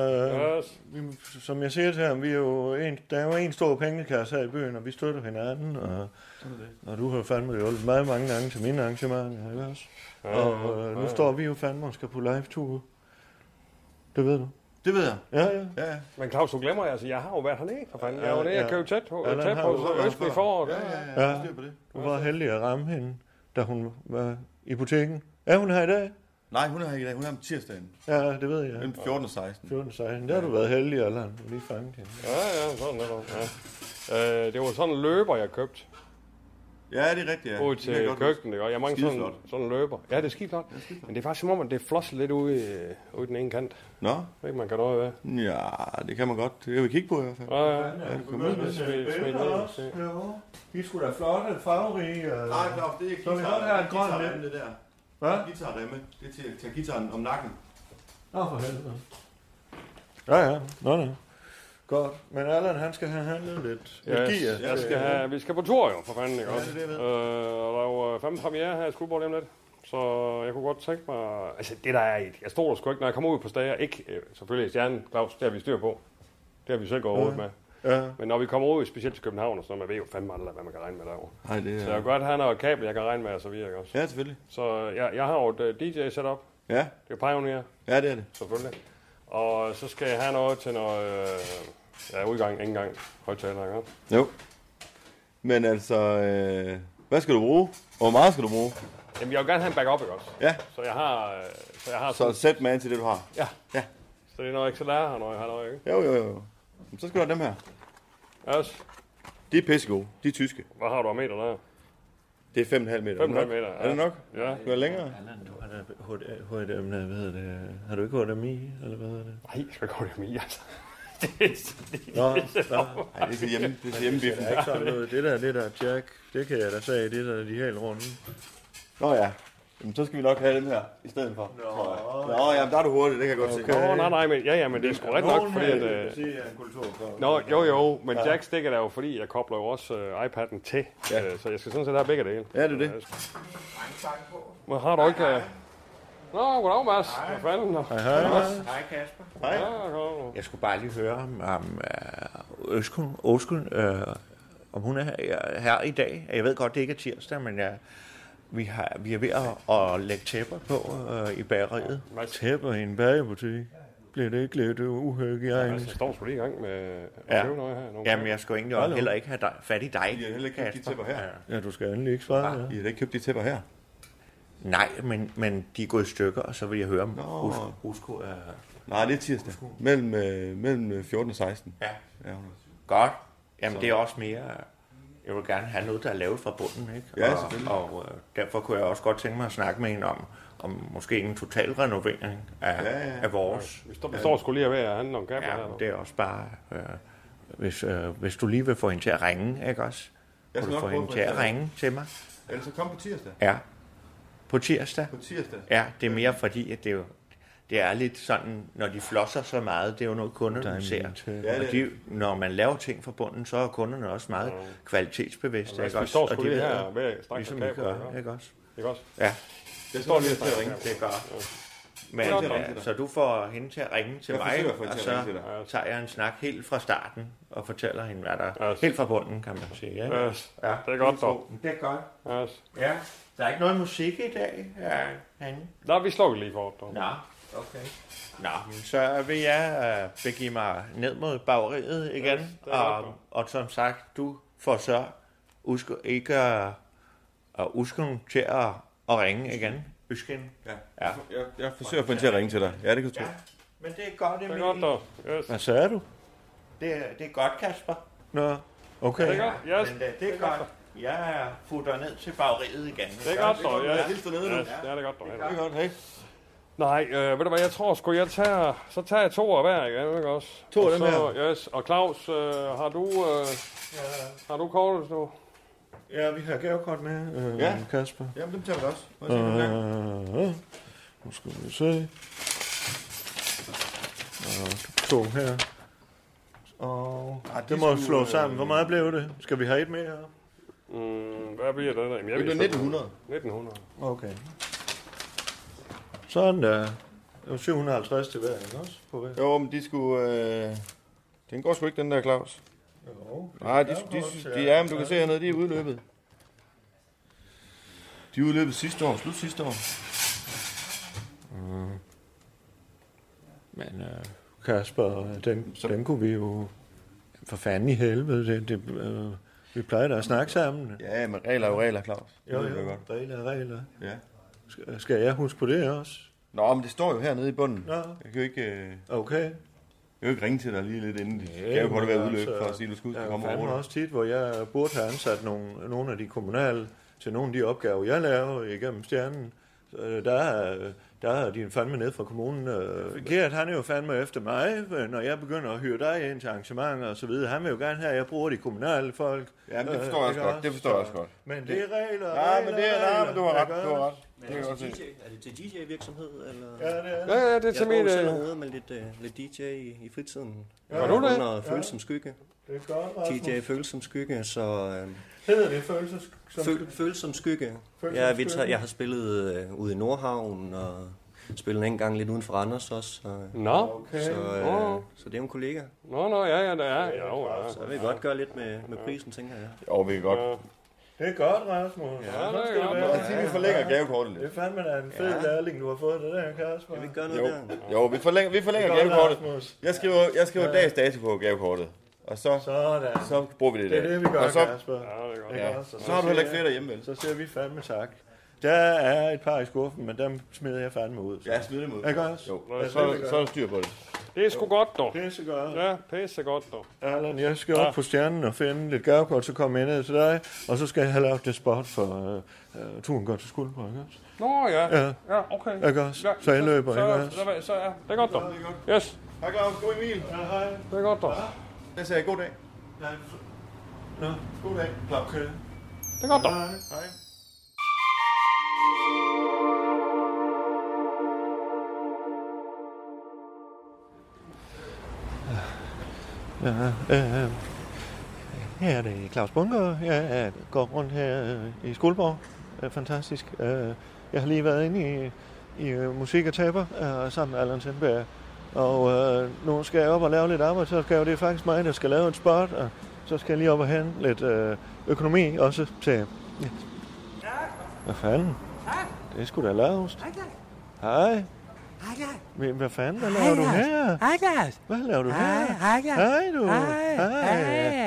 S1: øh,
S4: Yes.
S1: vi, som jeg siger til ham, vi er jo en, der er jo en stor pengekasse her i byen, og vi støtter hinanden, og, og du har jo fandme hjulpet mig mange gange til mine arrangementer, ikke også? Og øh, nu står vi jo fandme og skal på live-tour. Det ved du.
S5: Det ved jeg.
S1: Ja, ja.
S5: Ja, ja.
S4: Men Claus, du glemmer, altså, jeg har jo været hernede, for fanden. Jeg var nede, jeg
S1: Ja.
S4: købte tæt på,
S1: Ja, den
S4: tæt
S1: har
S4: på
S1: du så
S5: været
S4: Østby
S5: før.
S4: foråret.
S5: Ja, ja, ja.
S1: Ja.
S5: jeg styr på det.
S1: Du var heldig at ramme hende, da hun var i butikken. Er hun her i dag?
S5: Nej, hun er her i dag. Hun er om tirsdagen.
S1: Ja, det ved jeg.
S5: Mellem 14 og 16.
S1: 14 16. Der har du været heldig, Allan. Du har lige fanget hende.
S4: Ja, ja, sådan lidt. Ja. Øh, det var sådan en løber, jeg købte
S5: Ja, det er rigtigt, ja.
S4: ud
S5: Det kan jeg
S4: til
S5: godt huske.
S4: køkkenet. ikke? Og jeg mangler sådan,
S5: Skideflot.
S4: sådan en løber. Ja, det er skidt flot. Men det er faktisk som om, at det flosser lidt ude, i- ude i den ene kant. Jeg
S5: Nå,
S4: ved ikke, man kan noget ved.
S5: ja, det kan man godt. Det kan vi kigge på i hvert fald.
S4: Ja, ja.
S1: Ja,
S4: kom med det. Smid- smid
S1: Billeder
S4: ned.
S1: også. Jo. De er sgu da flotte, farverige. øh. og-
S5: Claus, det er
S1: Så vi guitar- holder her en grøn guitarremme,
S5: det der.
S1: Hvad?
S5: Guitarremme. Det er til at tage guitaren om nakken.
S1: Nå, for helvede. Ja, ja. Nå, nå. Godt. Men Allan, han skal have handlet lidt. Lidt
S4: Yes.
S1: gear.
S4: Jeg skal have, vi skal på tur jo, for fanden, ikke også?
S5: det er det, jeg ved.
S4: Øh, og der er jo øh, fandme premiere her i Skuldborg lige om lidt. Så jeg kunne godt tænke mig... Altså, det der er i... Jeg stod der sgu ikke, når jeg kom ud på stager. Ikke øh, selvfølgelig i stjernen, Claus, det har vi styr på. Det har vi selv gået ja. med.
S1: Ja.
S4: Men når vi kommer ud, specielt til København og sådan noget, man ved jo fandme aldrig, hvad man kan regne med derovre.
S5: Nej, det
S4: Så jeg
S5: er...
S4: kunne godt have noget kabel, jeg kan regne med, og så videre, ikke også?
S5: Ja, selvfølgelig.
S4: Så jeg, jeg har jo et øh, DJ-setup.
S5: Ja,
S4: Det er Pioneer,
S5: ja det er det.
S4: selvfølgelig. Og så skal jeg have noget til noget... Øh, ja, udgang, ikke engang højtaler, ikke også?
S5: Jo. Men altså, øh, hvad skal du bruge? Og hvor meget skal du bruge?
S4: Jamen, jeg vil gerne have en backup, ikke også?
S5: Ja,
S4: Så jeg har... øh, Så jeg har
S5: så
S4: sådan, så...
S5: sæt mig an til det, du har.
S4: Ja.
S5: Ja.
S4: Så det er noget, jeg ikke skal lære her, når jeg har noget, ikke?
S5: Jo, jo, jo. Men Så skal du have dem her.
S4: Yes.
S5: De er pissegode. De er tyske.
S4: Hvad har du af meter der?
S5: Det er 5,5 meter.
S4: 5,5 meter,
S5: Er det nok?
S4: Ja.
S5: Skal du have længere?
S1: Allan, du har da HD- HDMI, nej, hvad hedder det? Har du ikke HDMI, eller hvad hedder det?
S4: Nej, jeg skal gå det med i, altså. <laughs> Det er-
S1: Nå, der,
S5: Nej, det er til hjemme, det er til hjemmebiffen.
S1: der er ikke sådan noget. Det der, det der jack, det kan jeg da sige, det der er de helt runde.
S5: Nå ja. Jamen, så skal vi nok have dem her i stedet for. Nå, Nå ja, der er du hurtig, det kan jeg godt okay. se.
S4: Åh, nej, nej, men, ja, ja, men det er sgu ret nok, fordi at... Øh,
S1: Det er en kulturkort.
S4: Nå, jo jo, men ja. Jack stikker der jo, fordi jeg kobler jo også øh, iPad'en til, ja.
S5: Ja.
S4: øh, så jeg skal sådan set have begge dele.
S5: Ja, det er det.
S4: Men har du ikke... Øh... Nå, goddag Mads. Hvad fanden? Nå. Ja,
S6: Hej Kasper.
S4: goddag.
S1: Jeg skulle bare lige høre om, om øh, Øskun, Øskun, øh, om hun er her, her i dag. Jeg ved godt, det ikke er tirsdag, men jeg, vi, har, vi er ved at, at lægge tæpper på øh, i bageriet.
S4: Mads.
S1: Tæpper i en bagebutik? Bliver det ikke lidt
S4: Altså, jeg
S1: uhygiejnisk?
S4: står sgu lige i gang med at
S1: Ja.
S4: ja. noget her. Nogle
S7: Jamen, jeg skulle egentlig også
S1: Hallo.
S7: heller ikke have dig, fat i dig.
S5: I har heller ikke købt de
S7: Kasper.
S5: tæpper her.
S1: Ja, du skal endelig ikke svare. Ja.
S5: I har da ikke købt de tæpper her.
S7: Nej, men, men de er gået i stykker, og så vil jeg høre om Usko. Usko er...
S5: øh, Nej, det er tirsdag. Mellem, øh, mellem øh, 14 og 16.
S7: Ja,
S5: Ja, hun er-
S7: godt. Jamen, det er også mere... øh, Jeg vil gerne have noget, der er lavet fra bunden, ikke?
S5: Ja,
S7: og,
S5: selvfølgelig.
S7: Og øh, derfor kunne jeg også godt tænke mig at snakke med hende om, om måske en total renovering af,
S5: Ja, ja.
S7: af vores.
S4: Vi står, vi står sgu lige ved at handle om kabler
S7: Ja,
S4: ja, her.
S7: men
S4: Det...
S7: det er også bare... Øh, hvis, øh, hvis du lige vil få hende til at ringe, ikke også?
S5: Jeg skal
S7: Kunne
S5: nok
S7: du få
S5: prøve
S7: hende
S5: at
S7: til
S5: få
S7: at
S5: hende til at-
S7: ringe til mig?
S5: Ellers så kom på tirsdag.
S7: Ja. På tirsdag?
S5: På tirsdag.
S7: Ja, det er mere fordi, at det, er jo, det er lidt sådan, når de flosser så meget, det er jo noget, kunderne ser.
S5: Ja,
S7: Ja,
S5: det er
S7: og de, når man laver ting fra bunden, så er kunderne også meget kvalitetsbevidste. ikke
S4: Altså, vi
S7: også?
S4: står
S7: Og
S4: sgu
S7: de
S4: lige
S7: ved,
S4: her ved at strække
S7: ligesom
S4: ligesom
S7: vi
S4: kabler.
S7: gør,
S4: ikke?
S7: ikke også?
S4: Ikke også?
S7: Ja,
S5: Jeg
S4: står lige
S5: til at ringe.
S7: det gør. Men,
S4: Flot.
S7: ja, så du får hende til at ringe til
S5: Jeg
S7: mig,
S5: forsøger at få hende
S7: og
S5: til
S1: Altså-
S5: at ringe
S7: så
S5: til dig.
S7: tager jeg en snak helt fra starten og fortæller hende, hvad der
S4: Ja.
S7: er. Helt fra bunden, kan man sige. Ja, Ja.
S4: Ja. Det er godt dog.
S7: Det er godt.
S4: Ja.
S7: Ja. Der er ikke noget musik i dag, ja, han.
S4: Nå, vi slukker lige for dog.
S7: Nå, okay. Nå, men så vil jeg øh, begive mig ned mod bageriet igen.
S4: det er godt,
S7: og, og som sagt, du får så usk ikke at, at huske nogen til at, at ringe igen. Øsken.
S5: Ja.
S7: Ja.
S5: Jeg, jeg forsøger at få hende til at ringe til dig. Ja, det kan du tro.
S7: ja. Men det er godt,
S4: Det
S7: Emil.
S4: er godt dog. Yes.
S1: Hvad sagde du?
S7: Det, er, det er godt, Kasper.
S1: Nå,
S4: Det er
S1: okay.
S4: godt. Yes.
S7: Men det, det er godt. Jeg futter ned til bageriet igen.
S4: Det er godt dog. Ja.
S5: Jeg hilser nede nu.
S4: Yes, det er det godt dog.
S5: Det er godt, hej.
S4: Nej, øh, ved du hvad, jeg tror sgu, jeg tager, så tager jeg to af hver, ikke, ikke også?
S7: To af
S4: Og
S7: dem
S4: så, her? Yes, og Claus, øh, har du, øh, har du kortet nu?
S1: Ja, vi har gavekort med, øh,
S5: Ja.
S1: ja. Kasper.
S5: Jamen, dem tager vi da også. Må jeg se, hvordan det er?
S1: Øh, nu skal vi se. Og to her. Og
S5: Ah,
S1: det må
S5: skulle,
S1: slå
S5: øh,
S1: sammen. Hvor meget blev det? Skal vi have et mere?
S4: Mm, hvad bliver det der? Jamen, jeg
S5: øh, Det
S4: ved
S5: blev
S4: sgu ikke.
S5: 1900.
S4: 1900.
S1: Okay. Sådan der. Det var 750 til hver, ikke også? På hver.
S5: Jo, men de skulle... Øh... Den går sgu ikke, den der Claus.
S1: Jo.
S5: Nej, de, de, de, de, ja, men du kan se hernede, de er udløbet. De er udløbet sidste år, slut sidste år.
S1: Men øh, Kasper, den,
S5: Så-
S1: den kunne vi jo... For fanden i helvede, det, det, øh, vi plejer da at snakke sammen.
S5: Ja, men regler er jo regler, Claus. Det
S1: Jo,
S5: ved du
S1: jo, regler, regler.
S5: Ja.
S1: Skal, skal jeg huske på det også?
S5: Nå, men det står jo hernede i bunden.
S1: Nå.
S5: Jeg kan jo ikke, øh,
S1: Okay.
S5: jeg kan jo ikke ringe til dig lige lidt inden. Det kan jo godt være udløb for at sige, at du skal ud
S1: Der
S5: og
S1: er
S5: komme
S1: fandme
S5: over det.
S1: også tit, hvor jeg burde have ansat nogle, nogle af de kommunale til nogle af de opgaver, jeg laver igennem stjernen. Så, øh, Der er, der er de fandme ned fra kommunen. øh, Gert, han er jo fandme efter mig, øh, når jeg begynder at hyre dig ind til arrangementer og så videre. Han vil jo gerne have, at jeg bruger de kommunale folk.
S5: Ja, men det
S1: Øh,
S5: forstår jeg også
S1: ikke
S5: godt. Det forstår jeg også godt.
S1: Men det er regler.
S5: Nej, men
S1: regler,
S5: det er, nej, men du har
S1: regler,
S5: ret, du har
S1: ikke
S5: ret. Det
S6: Men
S5: kan jeg
S6: er
S5: godt
S6: det, til
S5: se.
S6: DJ, er det til DJ-virksomhed, eller?
S1: også? Ja, det er.
S4: Ja, ja, det er
S6: Jeg
S4: til
S6: går
S4: min...
S6: jo selv
S4: Øh,
S6: hernede med lidt, øh, lidt DJ i, i fritiden.
S1: Ja.
S4: Gør du det?
S6: Under følsom skygge.
S1: Det er godt, Rasmus.
S6: DJ følsom skygge, så... Øh,
S1: Hedder det følelses... som-
S6: føl, følsom skygge.
S1: Følsom
S6: Ja, vi
S1: Skygge.
S6: tager, jeg har spillet øh, ude i Nordhavn, og spillet en gang lidt uden for Anders også. Og,
S4: øh, Nå,
S1: Okay.
S6: så,
S4: Åh.
S6: øh, så det er jo en kollega.
S4: nå, nå, ja, ja, der er. Jo, ja.
S6: Så vil vi godt gøre lidt med, med prisen, tænker jeg.
S5: Jo, vi kan godt.
S1: Det er godt, Rasmus. Ja,
S4: det er godt,
S5: Lad os sige, vi forlænger gavekortet
S1: Det er
S5: lidt.
S1: fandme da en fed ja. lærling, du har fået det der, Kasper.
S6: Kan vi ikke gøre noget
S5: Jo,
S6: der?
S5: jo vi forlænger, vi forlænger gavekortet. Jeg skriver, jeg skriver dags dato på gavekortet. Og så,
S1: Sådan.
S5: så bruger vi det
S1: Det
S5: der.
S1: er det, vi gør,
S5: og så,
S1: Kasper.
S4: Ja, det er godt.
S5: ja, så har du heller ikke flere derhjemme, vel?
S1: Så ser vi fandme tak. Der er et par i skuffen, men dem smider jeg fandme ud. Så.
S5: Ja, smid dem ud.
S1: Ikke også?
S5: Jo,
S1: Lad os
S5: så,
S1: se, hvad vi gør.
S5: så er der styr på det.
S4: Det er sgu godt, dog.
S1: Pisse godt.
S4: Ja, pisse godt, dog.
S1: Allan, jeg skal op på stjernen og finde lidt gavekort, så kommer jeg ned til dig, og så skal jeg have lavet det spot for øh, øh, turen går til skuldre, ikke også?
S4: Nå, ja.
S1: Ja.
S4: Ja, okay.
S1: Ikke også?
S4: Ja,
S1: Så jeg løber,
S4: så,
S1: ikke
S4: så,
S1: også?
S4: så, så, ja. Det er godt, dog. Yes,
S5: Hej Claus, god Emil.
S1: Ja, hej.
S4: det er godt, dog.
S5: Jeg sagde god dag.
S1: Nå,
S5: God dag, Claus.
S1: okay.
S4: Det er godt, dog.
S1: Hej.
S5: Hej.
S1: Ja, øh, her er det Claus Bunker. Jeg øh, går rundt her øh, i Skuldborg. Øh, fantastisk. Øh, jeg har lige været inde i, i øh, Musik og Taber øh, sammen med Allan Sindberg. Og øh, nu skal jeg op og lave lidt arbejdsopgave. Det er faktisk mig, der skal lave et spot. Og så skal jeg lige op og hente lidt øh, økonomi også til... Ja. Hvad fanden? Det er sgu da lavest. Hej. Hej. Hvad fanden, hvad laver du her?
S8: Hej, Lars.
S1: Hvad laver du her?
S8: Hej, Lars.
S1: Hej du.
S8: Hej.
S1: Hej.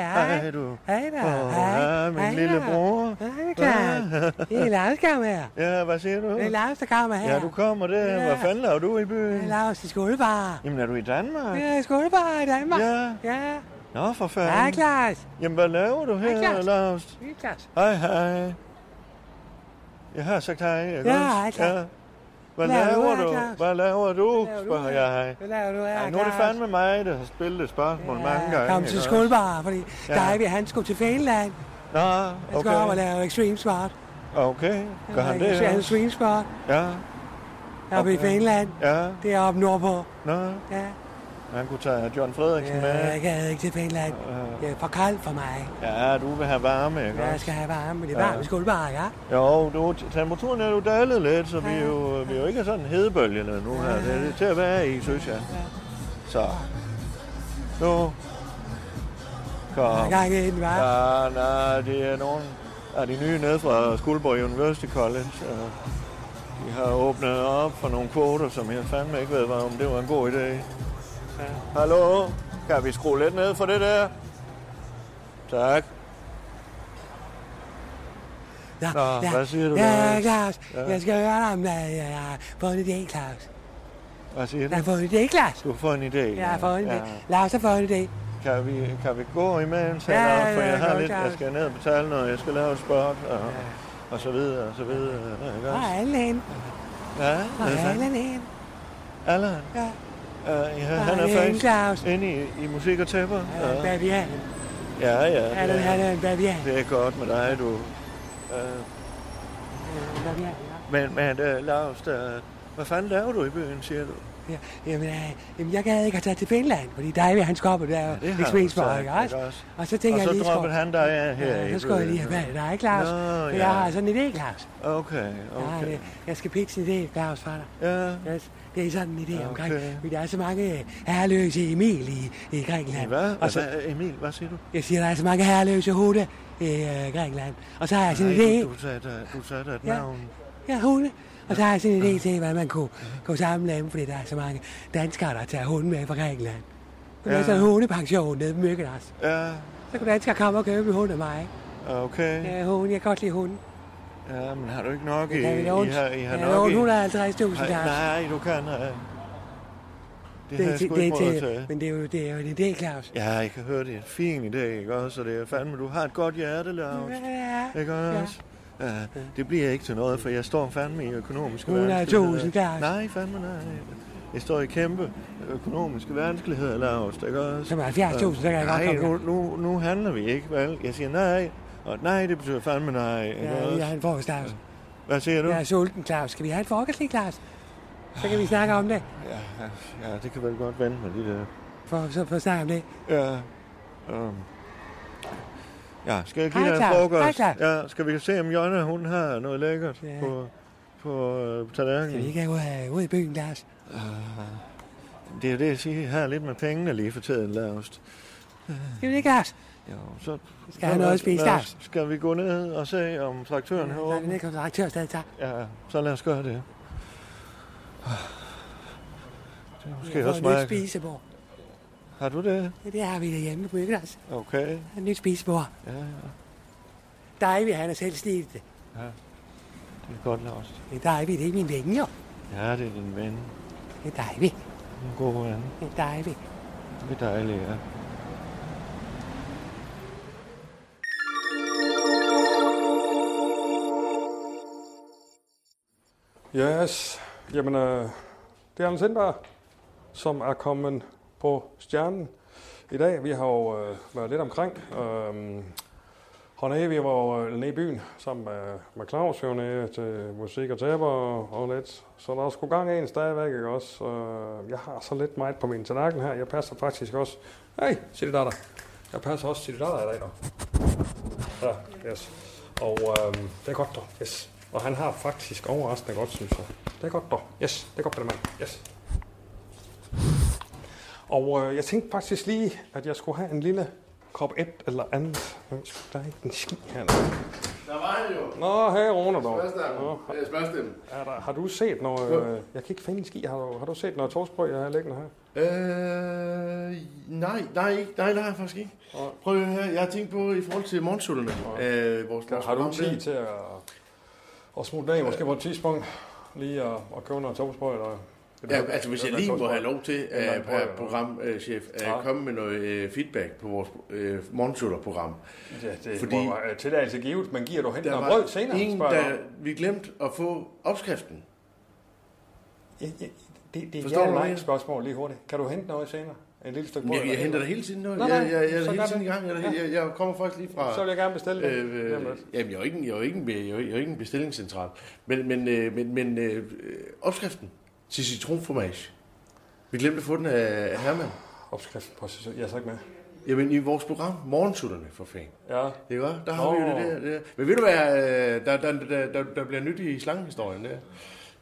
S8: Hej.
S1: Hej du.
S8: Hej, da.
S1: Åh, ja, min lille bror.
S8: Hej, Lars. Det er Lars, der kommer her.
S1: Ja, hvad siger du?
S8: Det er Lars, der kommer her.
S1: Ja, du kommer der.
S8: Ja.
S1: Hvad fanden laver du i
S8: Det er
S1: byen?
S8: Lars i skolebar.
S1: Jamen, er du i Danmark?
S8: Ja, i skolebar i Danmark.
S1: Ja.
S8: Ja.
S1: Nå, for
S8: Hej,
S1: fanden.
S8: Lars.
S1: Jamen, hvad laver du
S8: Hej,
S1: her,
S8: Claus.
S1: Lars?
S8: Hej, Lars.
S1: Hej, hej. Jeg har sagt hej, ikke
S8: Ja,
S1: også?
S8: hej, Claus.
S1: Hvad
S8: Hvad laver
S1: laver
S8: du her,
S1: du?
S8: Claus?
S1: Hvad laver du?
S8: Hvad laver du
S1: Spørger
S8: her?
S1: jeg.
S8: Hvad laver du her,
S1: Ej, nu er det
S8: Claus?
S1: fandme mig, der har spillet et spørgsmål mange gange.
S8: Kom til
S1: ikke også?
S8: skolebar, fordi
S1: Ja.
S8: der er vi, han skulle til Finland.
S1: Nå,
S8: Han skal op og
S1: okay.
S8: lave extreme sport.
S1: Okay, gør han det?
S8: Ja,
S1: også?
S8: extreme sport.
S1: Ja,
S8: Oppe i
S1: Okay.
S8: Finland.
S1: ja.
S8: Det er oppe nordpå.
S1: Nå,
S8: Ja.
S1: Han kunne tage John Frederiksen
S8: Ja, jeg
S1: med.
S8: gad ikke til Finland. Det er for koldt for mig.
S1: Ja, du vil have varme, ikke
S8: Jeg
S1: også?
S8: skal have varme, men det er varme
S1: Ja.
S8: i skolebar, ja.
S1: Jo, du, temperaturen er jo dalet lidt, så vi er
S8: Ja.
S1: jo, vi er jo ikke sådan hedebølgende nu her. Det er lidt til at være i, synes jeg. Så, nu,
S8: Der er
S1: kom.
S8: gang i den, hva'?
S1: Ja, nej, det er nogen af de nye nede fra Skuldborg University College. øh, De har åbnet op for nogle kvoter, som jeg fandme ikke ved, hvad- om det var en god idé. Hallo, kan vi skrue lidt ned for det der? Tak.
S8: Nå,
S1: hvad siger du,
S8: Ja,
S1: Lars?
S8: Claus,
S1: Ja.
S8: jeg skal høre dig om, at jeg har fået en idé, Claus.
S1: Hvad siger du?
S8: Jeg har fået en idé, Claus.
S1: Du får en idé.
S8: Jeg har fået en idé.
S1: Ja.
S8: Lars har fået en idé.
S1: Kan vi, kan vi gå imens?
S8: Ja,
S1: Ja, eller, for
S8: ja,
S1: jeg
S8: ja,
S1: har lidt,
S8: klart.
S1: jeg skal ned og betale noget, jeg skal lave et spot, og, ja. og så videre, og så videre. Ikke
S8: Hvor
S1: også?
S8: er alle henne?
S1: Ja,
S8: Hvor
S1: det
S8: er
S1: er
S8: alle
S1: sandt.
S8: henne?
S1: Allan.
S8: Ja,
S1: Uh, ja, han
S8: det
S1: er
S8: er
S1: faktisk
S8: Claus.
S1: inde i, i musik og tæpper.
S8: han er en
S1: Ja,
S8: bavian.
S1: ja. ja
S8: Allan,
S1: det,
S8: han
S1: er,
S8: er en bavian.
S1: det er godt med dig, du. Uh,
S8: Han er en bavian, ja.
S1: men men uh, Lars, der, hvad fanden laver du i byen, siger du?
S8: Ja, jamen, øh, jamen, jeg gad ikke at tage til Finland, fordi der er ved hans kopper, der er
S1: det
S8: jo
S1: har du
S8: ekspertsvar,
S1: sagt,
S8: ikke også?
S1: ikke også?
S8: Og så tænker
S1: og
S8: jeg
S1: så
S8: lige,
S1: droppede han dig af her i
S8: ja, så skulle jeg
S1: byen.
S8: lige have været der, ikke Claus?
S1: Nå,
S8: For
S1: ja.
S8: Jeg har sådan en idé, Claus.
S1: Okay,
S8: Jeg, har en,
S1: okay.
S8: øh, jeg skal pitche en idé, Claus, for dig.
S1: Ja,
S8: Yes, det er sådan en idé okay. omkring,
S1: Okay.
S8: fordi der er så mange øh, herreløse Emil i, i Grækenland.
S1: hvad?
S8: Og så,
S1: Hvad, Emil, hvad siger du?
S8: jeg siger, der er så mange herreløse hunde i øh, Grækenland. Og så har jeg sådan en idé.
S1: Nej, du, du sagde da, du sagde da et
S8: Altså, Ja.
S1: navn.
S8: Ja, hunde. Og så har jeg sådan en idé til, hvad man kunne, kunne samle dem, fordi der er så mange danskere, der tager hunde med fra Grækenland. Så
S1: Ja.
S8: ja. sådan en hundepension nede på Mykkenas.
S1: Ja,
S8: Så kunne danskere komme og købe en hund af mig. ikke?
S1: okay.
S8: Ja, hunde. Jeg kan godt lide hunde.
S1: Ja, men har du ikke nok i...
S8: Jeg kan
S1: I
S8: låne,
S1: har, I har
S8: jeg kan
S1: nok
S8: låne
S1: i...
S8: 150.000
S1: Nej,
S8: der.
S1: nej, du kan... Øh, det, har
S8: Det er
S1: jeg
S8: til,
S1: sgu
S8: det
S1: ikke
S8: er
S1: råd
S8: til,
S1: til.
S8: men det er jo, det er jo en idé, Claus.
S1: Ja, jeg kan høre, det er en fin idé, ikke også? Så det er fandme, du har et godt hjerte, Lars.
S8: Ja,
S1: Ikke også? Ja, det bliver ikke til noget, for jeg står fandme i økonomiske
S8: 100.000
S1: vanskeligheder.
S8: Claus.
S1: Nej, fandme nej. Jeg står i kæmpe økonomiske vanskeligheder, Lars. Ikke også?
S8: Som 70.000, så kan jeg godt
S1: nej,
S8: komme
S1: nu,
S8: hjem.
S1: nu, nu handler vi ikke, vel? Jeg siger nej, og nej, det betyder fandme nej. Ikke
S8: Ja,
S1: også?
S8: jeg har en frokost, Claus.
S1: Hvad siger du?
S8: Jeg er sulten, Claus. Skal vi have en frokost lige, Claus? Så kan vi snakke om det.
S1: Ja, ja, det kan vel godt vente med lige der.
S8: For, så, for at snakke om det.
S1: Ja, um, ja skal jeg give
S8: Hej,
S1: dig en
S8: Claus. Hej,
S1: frokost?
S8: Claus.
S1: ja, skal vi se, om Jonna, hun har noget lækkert
S8: Ja.
S1: på, på øh,
S8: Skal vi
S1: tallerkenen?
S8: ikke have ud, af- ud i byen, Claus?
S1: Det er det, jeg siger. Jeg har lidt med pengene lige for tiden, Lars.
S8: Skal vi ikke, Claus?
S1: Jo, så...
S8: Skal jeg have noget at spise,
S1: lad os-
S8: Lars?
S1: Skal vi gå ned og se, om traktøren har
S8: Der er den
S1: åbent?
S8: ikke kontraktør stadig tager.
S1: Ja, så lad os gøre det. Det er måske
S8: Jeg
S1: også
S8: får et nyt
S1: mig.
S8: spisebord.
S1: Har du det?
S8: Ja, det har vi derhjemme på Mykkenas.
S1: Okay.
S8: Der er et nyt spisebord.
S1: Ja, ja.
S8: Dejvig, han har selv snilt det.
S1: Det er godt, Lars.
S8: Det er Dejvig, det er min ven jo.
S1: Ja, det er din ven.
S8: Det er Dejvig.
S1: En god ven.
S8: Det er Dejvig.
S1: Det er dejligt, ja.
S4: Yes, jamen øh, det er Anders Sindberg, som er kommet på stjernen i dag. Vi har jo øh, været lidt omkring. Øh, Hernede, vi var jo øh, nede i byen sammen med, med Claus, vi var nede til musik og taber og, og lidt. Så der er sgu gang i en stadigvæk, ikke også? Øh, jeg har så lidt meget på min tallerken her. Jeg passer faktisk også... Hey, Silly Datter. Jeg passer også Silly Datter i dag, dog. Ja, yes. Og øh, det er godt, dog. Yes. Og han har faktisk overraskende godt, synes jeg. Det er godt, dog. Yes, det er godt på det mand. Yes. Og øh, jeg tænkte faktisk lige, at jeg skulle have en lille kop et eller andet. Hvem skulle- Der er ikke en ski her.
S7: Der var han jo.
S4: Nå, hey Rune dog. Nå,
S7: Spørgsmål. Spørgsmål.
S4: er der, har du set noget... Øh, jeg kan ikke finde en ski. Har du, har du set noget torsbrød, jeg har liggende her?
S7: Øh, nej, nej, ikke- nej, det har jeg faktisk ikke. Prøv lige at høre, jeg har tænkt på i forhold til morgensullerne. Øh, vores
S4: Har du
S7: program der.
S4: tid til at, at smutte af, måske på et tidspunkt? Lige at, at købe noget torsbrød? Eller,
S7: Ja, altså hvis jeg lige må have lov til,
S4: Eller en
S7: at
S4: brød,
S7: uh,
S4: eller
S7: programchef, at
S4: Ja.
S7: komme med noget øh, feedback på vores uh, morgensullerprogram.
S4: Ja, det
S7: Fordi-
S4: Fordi... må være tilladelse givet, men giver du hen
S7: Der
S4: noget
S7: var
S4: brød senere?
S7: en,
S4: spørger jeg
S7: der,
S4: om.
S7: vi glemte at få opskriften.
S4: Ja, ja, det, det er et
S7: Forstår du,
S4: ja eller
S7: hvad
S4: nej
S7: jeg-
S4: spørgsmål lige hurtigt. Kan du hente noget senere? En lille stykke brød?
S7: Jeg, jeg
S4: eller-
S7: henter dig hele tiden noget.
S4: Nå,
S7: Jeg,
S4: nej,
S7: jeg, jeg,
S4: så
S7: er
S4: gør
S7: hele tiden i
S4: det.
S7: gang. Jeg, er- jeg, jeg kommer faktisk lige fra...
S4: Så vil jeg gerne bestille det.
S7: Øh, øh,
S4: Jamen, altså.
S7: jamen, jeg er jo ikke, en- jeg er jo ikke, en, be- jeg er jo- jeg er jo ikke en bestillingscentral. Men, men, øh, men, men øh, øh, opskriften til citronformage. Vi glemte at få den af af Herman.
S4: Opskriften på sæson. Jeg er så ikke med.
S7: Jamen, i vores program, Morgensutterne, for fanden.
S4: Ja.
S7: Det er godt, der har vi jo
S4: Nå.
S7: det der, det der. Men ved du hvad, øh, der, der, der, der, der bliver nyt i slangehistorien der. Det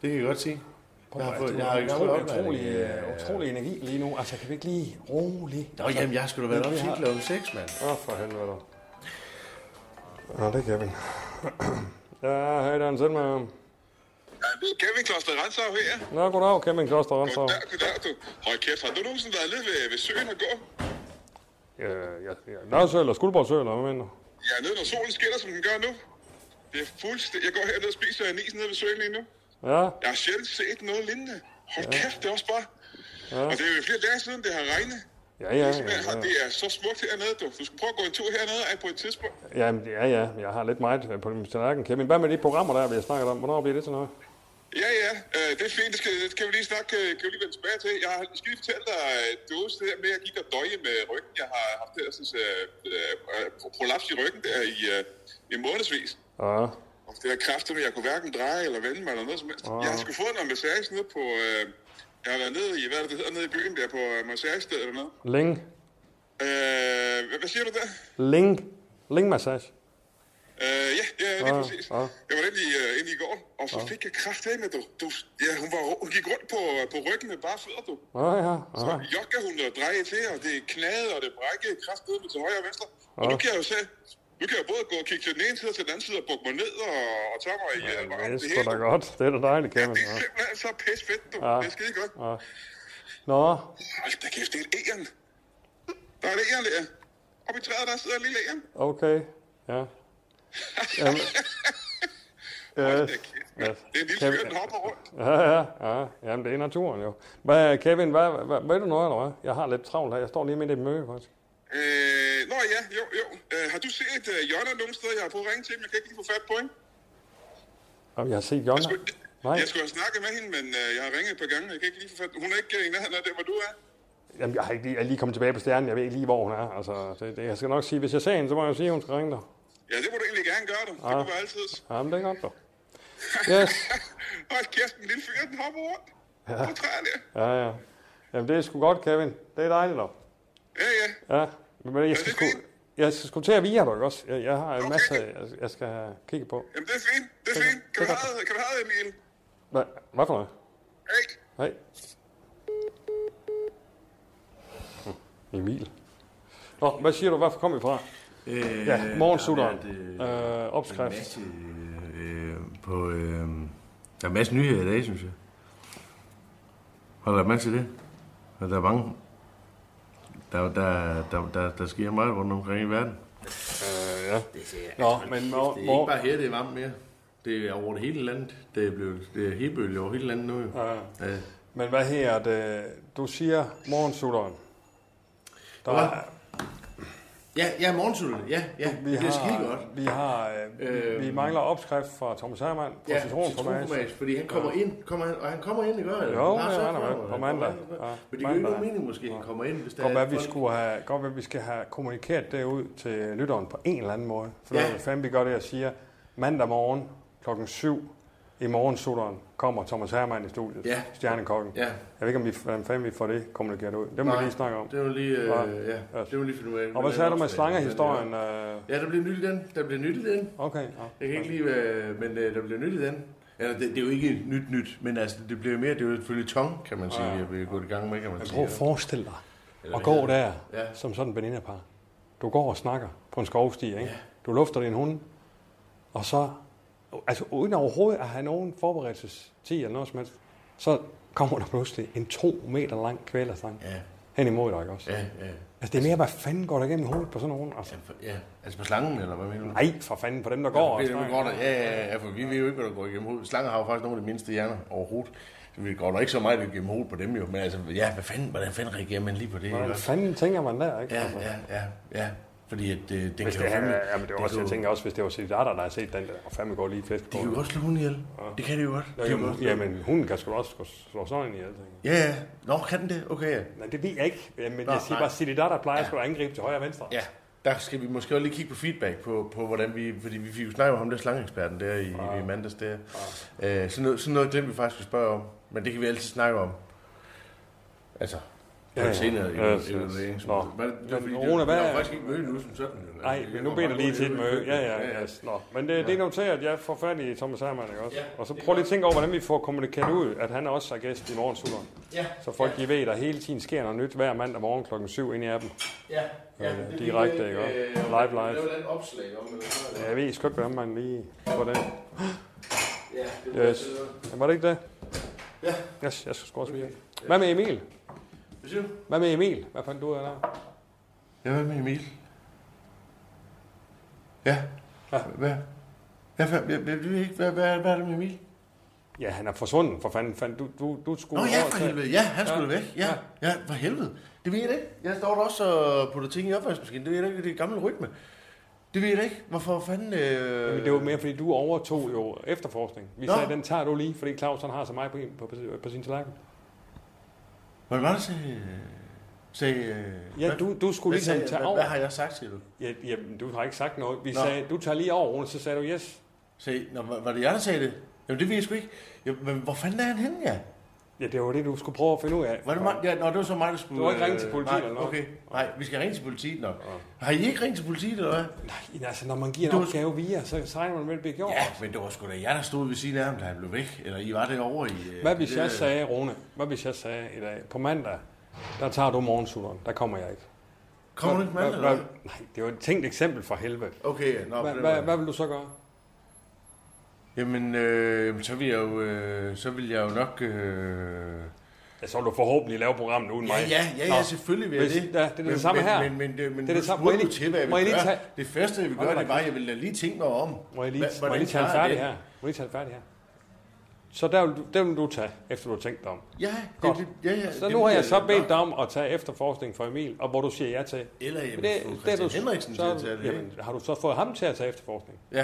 S7: kan jeg godt sige.
S4: Prøv,
S7: Jeg har
S4: at-
S7: fået-
S4: du
S7: jeg
S4: har
S7: har
S4: en
S7: gammel
S4: utrolig,
S7: opladning.
S4: utrolig,
S7: Ja.
S4: øh, utrolig energi lige nu. Altså, kan vi ikke lige rolig?
S7: Nå, jamen, jeg skulle da være op til klokken 6, mand.
S4: Åh, for helvede. dog. Nå, det kan vi. <clears throat> ja, hej, Dan Sindman.
S9: Ja, det er Kevin Kloster Renshav her.
S4: Nå, goddag, Kevin Kloster Rensov.
S9: Goddag, goddag, du. Hold kæft, har du nogensinde været nede ved, ved søen og gå?
S4: Øh, ja, ja. Nørsø eller Skuldborgsø, eller hvad mener du?
S9: Jeg er nede, når solen skinner, som den gør nu. Det er fuldstændig... Jeg går herned og spiser en is nede ved søen lige nu.
S4: Ja,
S9: Jeg har sjældent set noget lignende. Hold kæft, det er også bare... Ja. Og det er jo flere dage siden, det har regnet.
S4: ja,
S9: Ja,
S4: ja. ja, ja.
S9: Det er så smukt hernede, du. Du skal prøve at gå en tur hernede af på et tidspunkt.
S4: Ja, ja, ja. Jeg har lidt meget øh, på min tallerken, Kevin. Hvad med de programmer, der vi har snakket om? Hvornår bliver det til noget?
S9: Ja, ja, øh, det er fint. Det, skal, det kan vi lige snakke, øh, kan vi lige vende tilbage til. Jeg har skal lige fortælle dig, øh, du husker det der med, at jeg gik og døje med ryggen. Jeg har haft det der sådan, øh, øh, øh, prolaps i ryggen der i, øh, i månedsvis.
S4: Ja.
S9: Og det der kræfter med, jeg kunne hverken dreje eller vende mig eller noget som helst. Jeg har sgu fået noget massage nede på... Øh, jeg har været nede i, hvad er det, det hedder, nede i byen der på øh, massagestedet eller noget.
S4: Ling.
S9: Øh, hvad, hvad siger du der?
S4: Ling. Ling-massage.
S9: Øh, ja, ja, lige
S4: Ah,
S9: præcis.
S4: ah.
S9: Jeg var inde i, øh, inde i går, og så fik jeg kraft af med, du. du ja, hun, var, hun gik rundt på, øh, på ryggen med bare fødder, du.
S4: Ja, ja,
S9: Så
S4: ja.
S9: jokker hun og drejer til, og det knagede, og det brækkede kraft med til højre og venstre. Og
S4: Ah.
S9: nu kan jeg jo se, nu kan jeg både gå og kigge til den ene side og til den anden side og bukke mig ned og, og tage mig i ja,
S4: Det er
S9: det
S4: sgu
S9: hele.
S4: da godt. Det er da dejligt,
S9: <laughs>
S4: Kevin.
S9: Det er
S4: Ja. Ah.
S9: simpelthen så pis fedt, du.
S4: Ja.
S9: Det er skide godt.
S4: Ja. Nå,
S9: Hold da kæft, det er et æren. Der er et æren der. Oppe i træet, der sidder en lille æren.
S4: okay. Ja. Jamen,
S9: <laughs> Hold
S4: yes,
S9: da kæft, mand.
S4: yes.
S9: Det er en lille
S4: Kevin-
S9: fyr, der hopper rundt.
S4: Ja, ja, ja. Jamen, det er naturen jo. Hvad, Kevin, hvad, hvad, ved du noget, eller hvad? Jeg har lidt travlt her. Jeg står lige midt i et møde, faktisk.
S9: Øh, nå ja, jo, jo. Øh, har du set øh, Jonna nogen steder? Jeg har prøvet at ringe til hende, jeg kan ikke lige få fat på hende.
S4: Jamen, jeg har set Jonna. Nej,
S9: Jeg skulle have snakket med hende, men øh, jeg har ringet et par gange, jeg kan ikke lige få fat Hun er ikke øh, i nærheden af det, hvor du er.
S4: jamen, jeg, har ikke lige, jeg er lige kommet tilbage på stjernen. Jeg ved ikke lige, hvor hun er. Altså, det, det, jeg skal nok sige, hvis jeg ser hende, så må jeg jo sige, at hun skal ringe dig.
S9: Ja, det må du egentlig gerne gøre, du. Det
S4: Ah.
S9: kunne være altid.
S4: Jamen, det er godt, dog. Yes.
S9: Hold kæft, den lille fyr, den hopper rundt. Ja. På træerne.
S4: Ja, ja. Jamen, det er sgu godt, Kevin. Det er dejligt, dog.
S9: Ja, ja.
S4: Ja, men jeg skal sgu, jeg skal sgu til at vige dig også. Jeg, jeg har en masse, jeg, jeg skal kigge på.
S9: Jamen, det er fint. Det er fint. Kan du have det, kan du have det Emil?
S4: Hvad, hvad for noget?
S9: Hey.
S4: Hej. Hm, Emil. Nå, hvad siger du? Hvorfor kom vi fra?
S7: Øh,
S4: Ja, morgensutteren. Øh, opskrift.
S7: masse, øh, på, øh, der er masser nyheder i dag, synes jeg. Har du lagt mærke til det? Og der er mange... Der, der, der, der, der sker meget rundt omkring i verden.
S4: Nå, men mor,
S7: Det er ikke
S4: mor,
S7: bare her, det er varmt mere. Det er over det hele landet. Det er, blevet, det er hebølge over hele landet nu. Jo. Ja. Ja.
S4: men hvad her det? Du siger morgensutteren. Der,
S7: Hvad? Ja, ja, morgensulen. Ja, ja.
S4: vi
S7: det er skide godt.
S4: har, vi, har, øh, vi, vi
S7: Øhm.
S4: mangler opskrift fra Thomas Hermann fra ja, citronformat.
S7: citronformat, fordi han kommer ind, kommer han, og han kommer ind, ikke? Eller?
S4: Jo,
S7: Lars
S4: ja,
S7: Høgh
S4: han er med
S7: kommer,
S4: på
S7: han
S4: mandag.
S7: kommer ind.
S4: Ja,
S7: Men det giver jo ikke
S4: mandag.
S7: nogen mening, måske, at han kommer ind, hvis der
S4: Godt
S7: er
S4: være, vi
S7: folk-
S4: skulle have, godt være, vi skal have kommunikeret det ud til lytteren på en eller anden måde. For
S7: Ja.
S4: ja. fanden vi gør det, jeg siger, mandag morgen klokken 7 i morgensutteren kommer Thomas Hermann i studiet,
S7: Ja.
S4: stjernekokken.
S7: Ja.
S4: Jeg ved ikke, om vi, hvordan fanden vi får det kommunikeret ud. Det må vi lige snakke om.
S7: Det var lige, øh,
S4: Nej.
S7: ja, det var lige finde ud af.
S4: Og hvad
S7: Men,
S4: sagde du
S7: øh,
S4: med slangerhistorien? Øh,
S7: Ja, der bliver nyt i den. Der bliver nyt i den.
S4: Okay. ja.
S7: Jeg kan ikke lige, øh, men øh, der bliver nyt i den. Eller det, det, er jo ikke nyt nyt, men altså, det bliver mere, det er jo selvfølgelig tong, kan man sige, jeg bliver gået i gang med, kan man
S4: Prøv
S7: sige. ligesom-
S4: at forestille dig at gå der
S7: Ja.
S4: som sådan en venindepar. Du går og snakker på en skovsti, ikke? Du lufter din hund, og så, altså uden overhovedet at have nogen forberedelsestid eller noget som helst, så kommer der pludselig en to meter lang kvælerstang
S7: Ja,
S4: hen imod dig, ikke også?
S7: ja, ja.
S4: Altså det er mere, hvad fanden går der igennem hovedet på sådan nogen? Altså,
S7: Ja, altså på slangen, eller hvad mener du?
S4: nej, for fanden, på dem, der går og
S7: det, det
S4: snakker.
S7: går der. Ja, ja, ja, for vi ved jo ikke, hvad der går igennem hovedet. Slanger har jo faktisk nogle af de mindste hjerner overhovedet. Så vi går der ikke så meget igennem hovedet på dem jo. Men altså, ja, hvad fanden, hvordan fanden reagerer man lige på det?
S4: Hvordan
S7: ikke?
S4: fanden tænker man der, ikke?
S7: Ja,
S4: Altså,
S7: ja, ja, ja. Fordi at, øh, den kan jo
S4: Hvis det,
S7: fandme-
S4: er, ja, men det
S7: den
S4: var også,
S7: kan
S4: jeg
S7: jo-
S4: tænker også, hvis det var cigaretter, der har set den der, og fandme går lige flæsk
S7: De kan jo godt slå hunden ihjel. Det kan de jo godt.
S4: Nå,
S7: De kan
S4: jamen,
S7: godt slå-
S4: jamen, hunden kan sgu da også gå- slå sådan en ihjel, tænker jeg.
S7: Ja, ja. Nå, kan den det? Okay, ja.
S4: Nej, det ved jeg ikke, Ja, men
S7: Nå,
S4: jeg siger
S7: nej.
S4: bare, Silly der plejer sgu at angribe til højre og venstre.
S7: Ja, der skal vi måske også lige kigge på feedback på, på hvordan vi... Fordi vi fik jo snakket om ham der slangeeksperten der i, i mandags der. Øh, sådan, noget, sådan noget glemte vi faktisk at spørge om. Men det kan vi altid snakke om. Altså,
S4: Ja,
S7: ja,
S4: ja.
S7: ja. senere i
S4: Ja,
S7: yes,
S4: yes, yes.
S7: yes.
S4: Nå. Men Rune, hvad-
S7: Der er jo faktisk ikke møde nu som sådan. eller?
S4: Nej,
S7: Det
S4: men
S7: kommer
S4: nu beder
S7: bare
S4: lige
S7: ud
S4: til et
S7: i-
S4: møde. Ja, ja, ja. Nå. Men øh, det, det er noteret, jeg får fat i Thomas Hermann, ikke også?
S7: Ja,
S4: Og så
S7: det
S4: prøv lige at
S7: gør
S4: tænke over, hvordan vi får kommunikeret ud, at han også er gæst i morgensutteren.
S7: Ja,
S4: Så folk de ved, at der hele tiden sker noget nyt hver mandag morgen klokken 7 ind i appen.
S7: ja, ja,
S4: Øh,
S7: det er
S4: direkte,
S7: lige,
S4: ikke også?
S7: øh,
S4: Live,
S7: om-
S4: live.
S7: Lave et eller andet opslag om, eller sådan noget.
S4: Jeg ved sgu ikke, hvordan man lige får det.
S7: Ja, det er
S4: Yes. Jamen, var det ikke det?
S7: Ja.
S4: Yes, jeg skal sgu også videre. Hvad med Emil?
S7: Hvad siger du?
S4: Hvad med Emil? Hvad fandt du ud af der?
S7: Ja, hvad med Emil? Ja. Hvad? Hvad, hvad, hvad, hvad, hvad, hvad, hvad, hvad er det med Emil?
S4: Ja, han er forsvundet, for fanden. Fandt du, du, du skulle
S7: Nå ja,
S4: over
S7: for
S4: til-
S7: helvede. Ja, han skulle
S4: Ja.
S7: ja. væk. Ja, ja, for helvede. Det ved jeg da ikke. Jeg står der også og putter ting i opvaskemaskinen. Det ved jeg da ikke. Det er gammel rytme. Det ved jeg da ikke. Hvorfor fanden... Øh...
S4: Jamen, det var mere, fordi du overtog jo efterforskning. Vi
S7: Nå.
S4: sagde, den tager du lige, fordi Claus han har så meget på, en- på, på, på sin tallerken.
S7: Hvad var det, sagde... sagde øh,
S4: Ja,
S7: hvad-
S4: du, du skulle
S7: hvad, sagde,
S4: ligesom
S7: jeg?
S4: tage
S7: hvad,
S4: over.
S7: hvad, har jeg sagt til du?
S4: Ja, jamen, du har ikke sagt noget. Vi
S7: Nå.
S4: sagde, du tager lige over, Rune, så sagde du yes.
S7: Sagde, Nå, var var det jeg, der sagde det? Jamen, det ved jeg sgu ikke. Jamen, men hvor fanden er han henne, ja?
S4: Ja, det var det, du skulle prøve at finde ud af.
S7: Var det mig? Ja, nå, det var så mig, der skulle...
S4: Du har ikke
S7: øh,
S4: ringet til politiet
S7: nej,
S4: eller noget?
S7: Okay, nej, vi skal ringe til politiet nok. Har I ikke ringet til politiet, eller hvad?
S4: Nej, altså, når man giver en
S7: Du-
S4: opgave via, så så regner man med, at det bliver gjort.
S7: Ja, men det var sgu da jeg, der stod ved siden af ham, da han blev væk. Eller I var derovre i... øh,
S4: Hvad hvis
S7: det-
S4: jeg sagde, Rune, hvad hvis jeg sagde i dag, på mandag, der tager du morgensutteren, der kommer jeg ikke.
S7: Kommer du ikke med,
S4: Hvad-
S7: eller hvad?
S4: hvad- Nej, det var et tænkt eksempel for helvede.
S7: Okay, ja, nå,
S4: Hvad,
S7: på den
S4: hvad,
S7: måde.
S4: hvad vil du så gøre?
S7: Jamen, øh, så vil jeg jo, øh, så vil jeg jo nok... Øh...
S4: Ja, så vil du forhåbentlig lave programmet uden
S7: Ja,
S4: mig.
S7: ja, ja, ja, selvfølgelig vil jeg
S4: Hvis-
S7: det.
S4: ja, det er det
S7: Men-
S4: samme
S7: men,
S4: her.
S7: Men, men, men, men
S4: Det er det samme.
S7: Må
S4: Må
S7: jeg
S4: jeg
S7: lige,
S4: lige-
S7: til, hvad jeg
S4: må
S7: vil
S4: jeg lige
S7: gøre.
S4: tage-
S7: Det første, jeg vil
S4: Hold
S7: gøre,
S4: da
S7: det var, at jeg vil lade lige tænke mig om.
S4: Må jeg lige,
S7: Hva-
S4: må jeg lige tage den
S7: klarer jeg
S4: færdig her? Må jeg lige tage den færdig her? Så der vil, du- der vil du tage, efter du har tænkt dig om.
S7: Ja, det,
S4: Godt.
S7: det, ja, ja.
S4: Så
S7: det
S4: nu
S7: vil
S4: har jeg så
S7: nok.
S4: bedt dig om at tage efterforskning for Emil, og hvor du siger ja til.
S7: Eller jeg
S4: Men
S7: vil få Christian Henriksen til at tage det.
S4: Jamen, har du så fået ham til at tage efterforskning?
S7: Ja.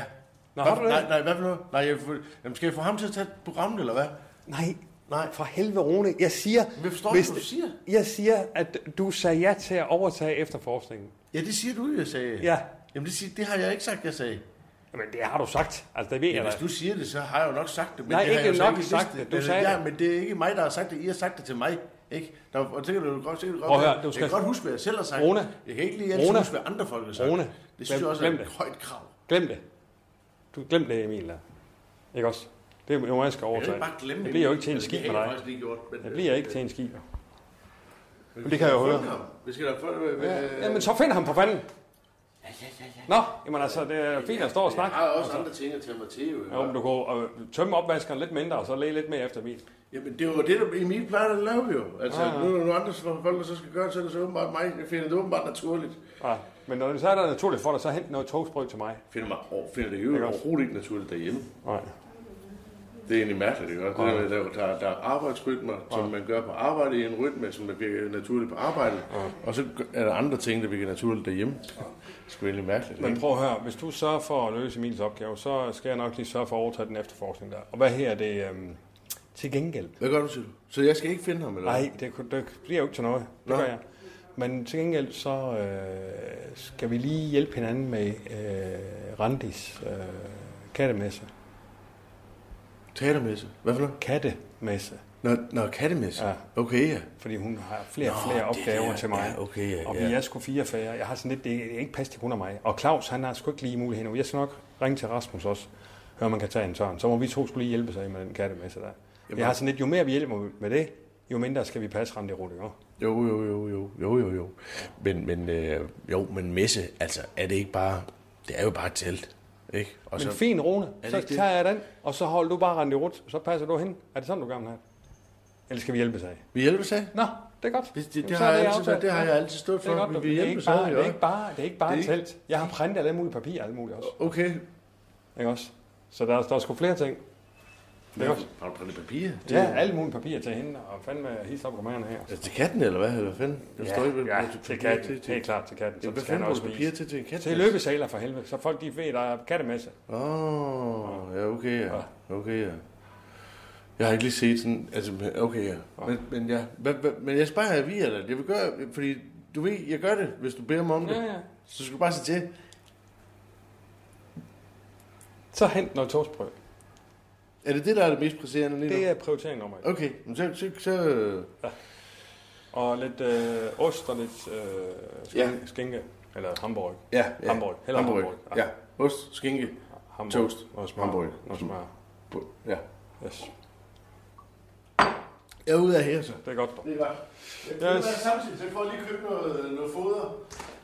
S7: Hvad
S4: Nå, har
S7: for,
S4: du det?
S7: nej, nej, hvad for noget? Nej, jeg, vil få- jamen, skal jeg få ham til at tage programmet, eller hvad?
S4: Nej,
S7: Nej.
S4: for helvede Rune. Jeg siger,
S7: Men jeg forstår ikke, hvad du siger.
S4: jeg siger, at du sagde ja til at overtage efterforskningen.
S7: Ja, det siger du, jeg sagde.
S4: Ja.
S7: Jamen, det, siger, det har jeg ikke sagt, jeg sagde.
S4: Jamen, det har du sagt. Altså, det ved
S7: Ja,
S4: jeg
S7: hvis
S4: da.
S7: du siger det, så har jeg jo nok sagt det. Men
S4: Nej,
S7: det har
S4: ikke
S7: jeg jo så
S4: nok
S7: vidst.
S4: sagt det. Du
S7: Altså,
S4: sagde
S7: ja,
S4: det.
S7: men det er ikke mig, der har sagt det. I har sagt det til mig. Ikke? Der, og det kan du jo godt, det kan du godt,
S4: Prøv at høre,
S7: jeg
S4: du
S7: kan
S4: skal-
S7: godt huske, hvad jeg selv har sagt.
S4: Rune.
S7: Jeg kan ikke lige altid
S4: Rune.
S7: huske, hvad andre folk har sagt.
S4: Rune.
S7: Det synes
S4: Glem-
S7: jeg også er
S4: glem
S7: et
S4: det.
S7: højt krav.
S4: Glem det. Du glem det, Emil. Der. Ikke også? Det er jo mig, jeg
S7: Jeg
S4: skal
S7: kan
S4: overtage.
S7: ikke bare glemme
S4: det bliver jo ikke til en skid med
S7: Det har jeg
S4: dig.
S7: faktisk lige gjort. Men, øh,
S4: Det bliver ikke til en skid.
S7: men
S4: det
S7: vi
S4: kan
S7: skal
S4: jeg
S7: da
S4: jo høre.
S7: finde ham. Vi skal da få... Øh,
S4: Ja, men så find ham for fanden. Nå, jamen altså, det er fint at stå og
S7: jeg
S4: snakke.
S7: har også andre ting at tage mig til. Jo.
S4: Jo, men du kan jo, øh, tømme opvaskeren lidt mindre, og så læge lidt mere efter Emil.
S7: Jamen, det var det, der Emil plejer at lave jo. Altså,
S4: Ah.
S7: nu er der nogle andre folk, der så skal gøre det, så er det så åbenbart mig. Jeg finder det åbenbart naturligt.
S4: Ja, men når det så er der naturligt for dig, så hent noget togsprøg til mig.
S7: finder, mig, over, finder det jo overhovedet ikke naturligt derhjemme.
S4: Nej.
S7: Det er egentlig mærkeligt, ikke? også? Det der, med, der, der, der er arbejdsrytmer, som man gør på arbejde i en rytme, som der virker naturligt på arbejde. Og så gør- er der andre ting, der virker naturligt derhjemme. Det er sgu egentlig mærkeligt.
S4: Men
S7: ikke?
S4: prøv at høre, hvis du sørger for at løse Emils opgave, så skal jeg nok lige sørge for at overtage den efterforskning der. Og hvad her er det øhm, til gengæld?
S7: Hvad gør du, siger du? Så jeg skal ikke finde ham, eller
S4: Nej, det, kunne- det bliver jo ikke til noget. Det
S7: Nå.
S4: gør jeg. Men til gengæld så øh, skal vi lige hjælpe hinanden med øh, Randis øh, kattemesse.
S7: Teatermesse. Hvad for noget?
S4: Kattemesse.
S7: Nå, nå kattemesse.
S4: Ja.
S7: Okay, ja.
S4: Fordi hun har flere og
S7: Nå,
S4: flere
S7: det
S4: opgaver
S7: der.
S4: til mig.
S7: Ja, okay, ja,
S4: og vi
S7: ja.
S4: er sgu fire færre. Jeg har sådan lidt, det er ikke pas til kun af mig. Og Claus, han har sgu ikke lige mulighed nu. Jeg skal nok ringe til Rasmus også, høre om man kan tage en tørn. Så må vi to skulle lige hjælpe sig med den kattemesse der. Jamen. Jeg har sådan lidt, jo mere vi hjælper med det, jo mindre skal vi passe ramt i rute, ikke?
S7: Jo, jo, jo, jo, jo, jo, jo. Men, men, øh, jo, men messe, altså, er det ikke bare... Det er jo bare et telt, ikke? Og
S4: Men fin, Rune,
S7: det
S4: så
S7: ikke det?
S4: tager jeg den, og så holder du bare Randi Rut, så passer du hen. Er det sådan, du gerne vil have? Eller skal vi hjælpe sig?
S7: vi hjælper sig.
S4: Nå, det er godt.
S7: Det, det,
S4: Jamen,
S7: det,
S4: så
S7: har,
S4: er
S7: jeg altid,
S4: aftalt.
S7: været- det har jeg altid stået
S4: Det er
S7: for.
S4: godt,
S7: Vi
S4: du-
S7: vil
S4: det er
S7: hjælpe
S4: ikke
S7: sig.
S4: bare, det er
S7: jo.
S4: ikke bare, det er ikke bare
S7: Det
S4: et
S7: er ikke-
S4: telt. Jeg har printet alle mulige papirer, alle mulige også.
S7: Okay.
S4: Ikke også? Så der, der er sgu flere ting. Det er godt.
S7: Har du printet papir?
S4: Ja, alle mulige papirer til hende, og fandme hisse op romanerne her.
S7: Altså, til katten, eller hvad? Eller hvad fanden? Jeg står ikke ved-
S4: ja,
S7: til-
S4: til
S7: papir
S4: katten. Helt klart til katten.
S7: Ja,
S4: Så
S7: Hvad
S4: det skal han
S7: fanden bruger
S4: også
S7: du papir
S4: spise.
S7: til til en kat?
S4: Til løbesaler for helvede, så folk de ved, der er kattemasse.
S7: Åh, ja, okay, ja.
S4: Ah.
S7: Okay, ja. Jeg har ikke lige set sådan... Altså, men- okay, ja.
S4: Ah.
S7: Men, men, ja. Hvad, hvad, men jeg sparer jer via dig. Jeg vil gøre... Fordi du ved, jeg gør det, hvis du beder mig om det.
S4: Ja, ja.
S7: Så skal du bare sige til.
S4: Så hent noget toastbrød.
S7: Er det det, der er det mest presserende lige nu?
S4: Det er prioritering nummer et.
S7: Okay, men så... så, så øh,
S4: Og lidt øh, ost og lidt øh, skinke,
S7: Ja.
S4: skinke. Eller hamburg.
S7: ja, ja.
S4: Hamburg. Heller
S7: Hamburg.
S4: hamburg.
S7: Ja. Ost, skinke,
S4: Hamburg.
S7: Toast.
S4: Noget smør.
S7: Hamburg. Mm.
S4: Noget smør.
S7: På- Ja.
S4: Yes.
S7: Jeg er ude af her, så.
S4: Det er godt. dog.
S7: Det var. Jeg yes.
S4: Yes.
S7: samtidig, så jeg får lige købt noget, noget foder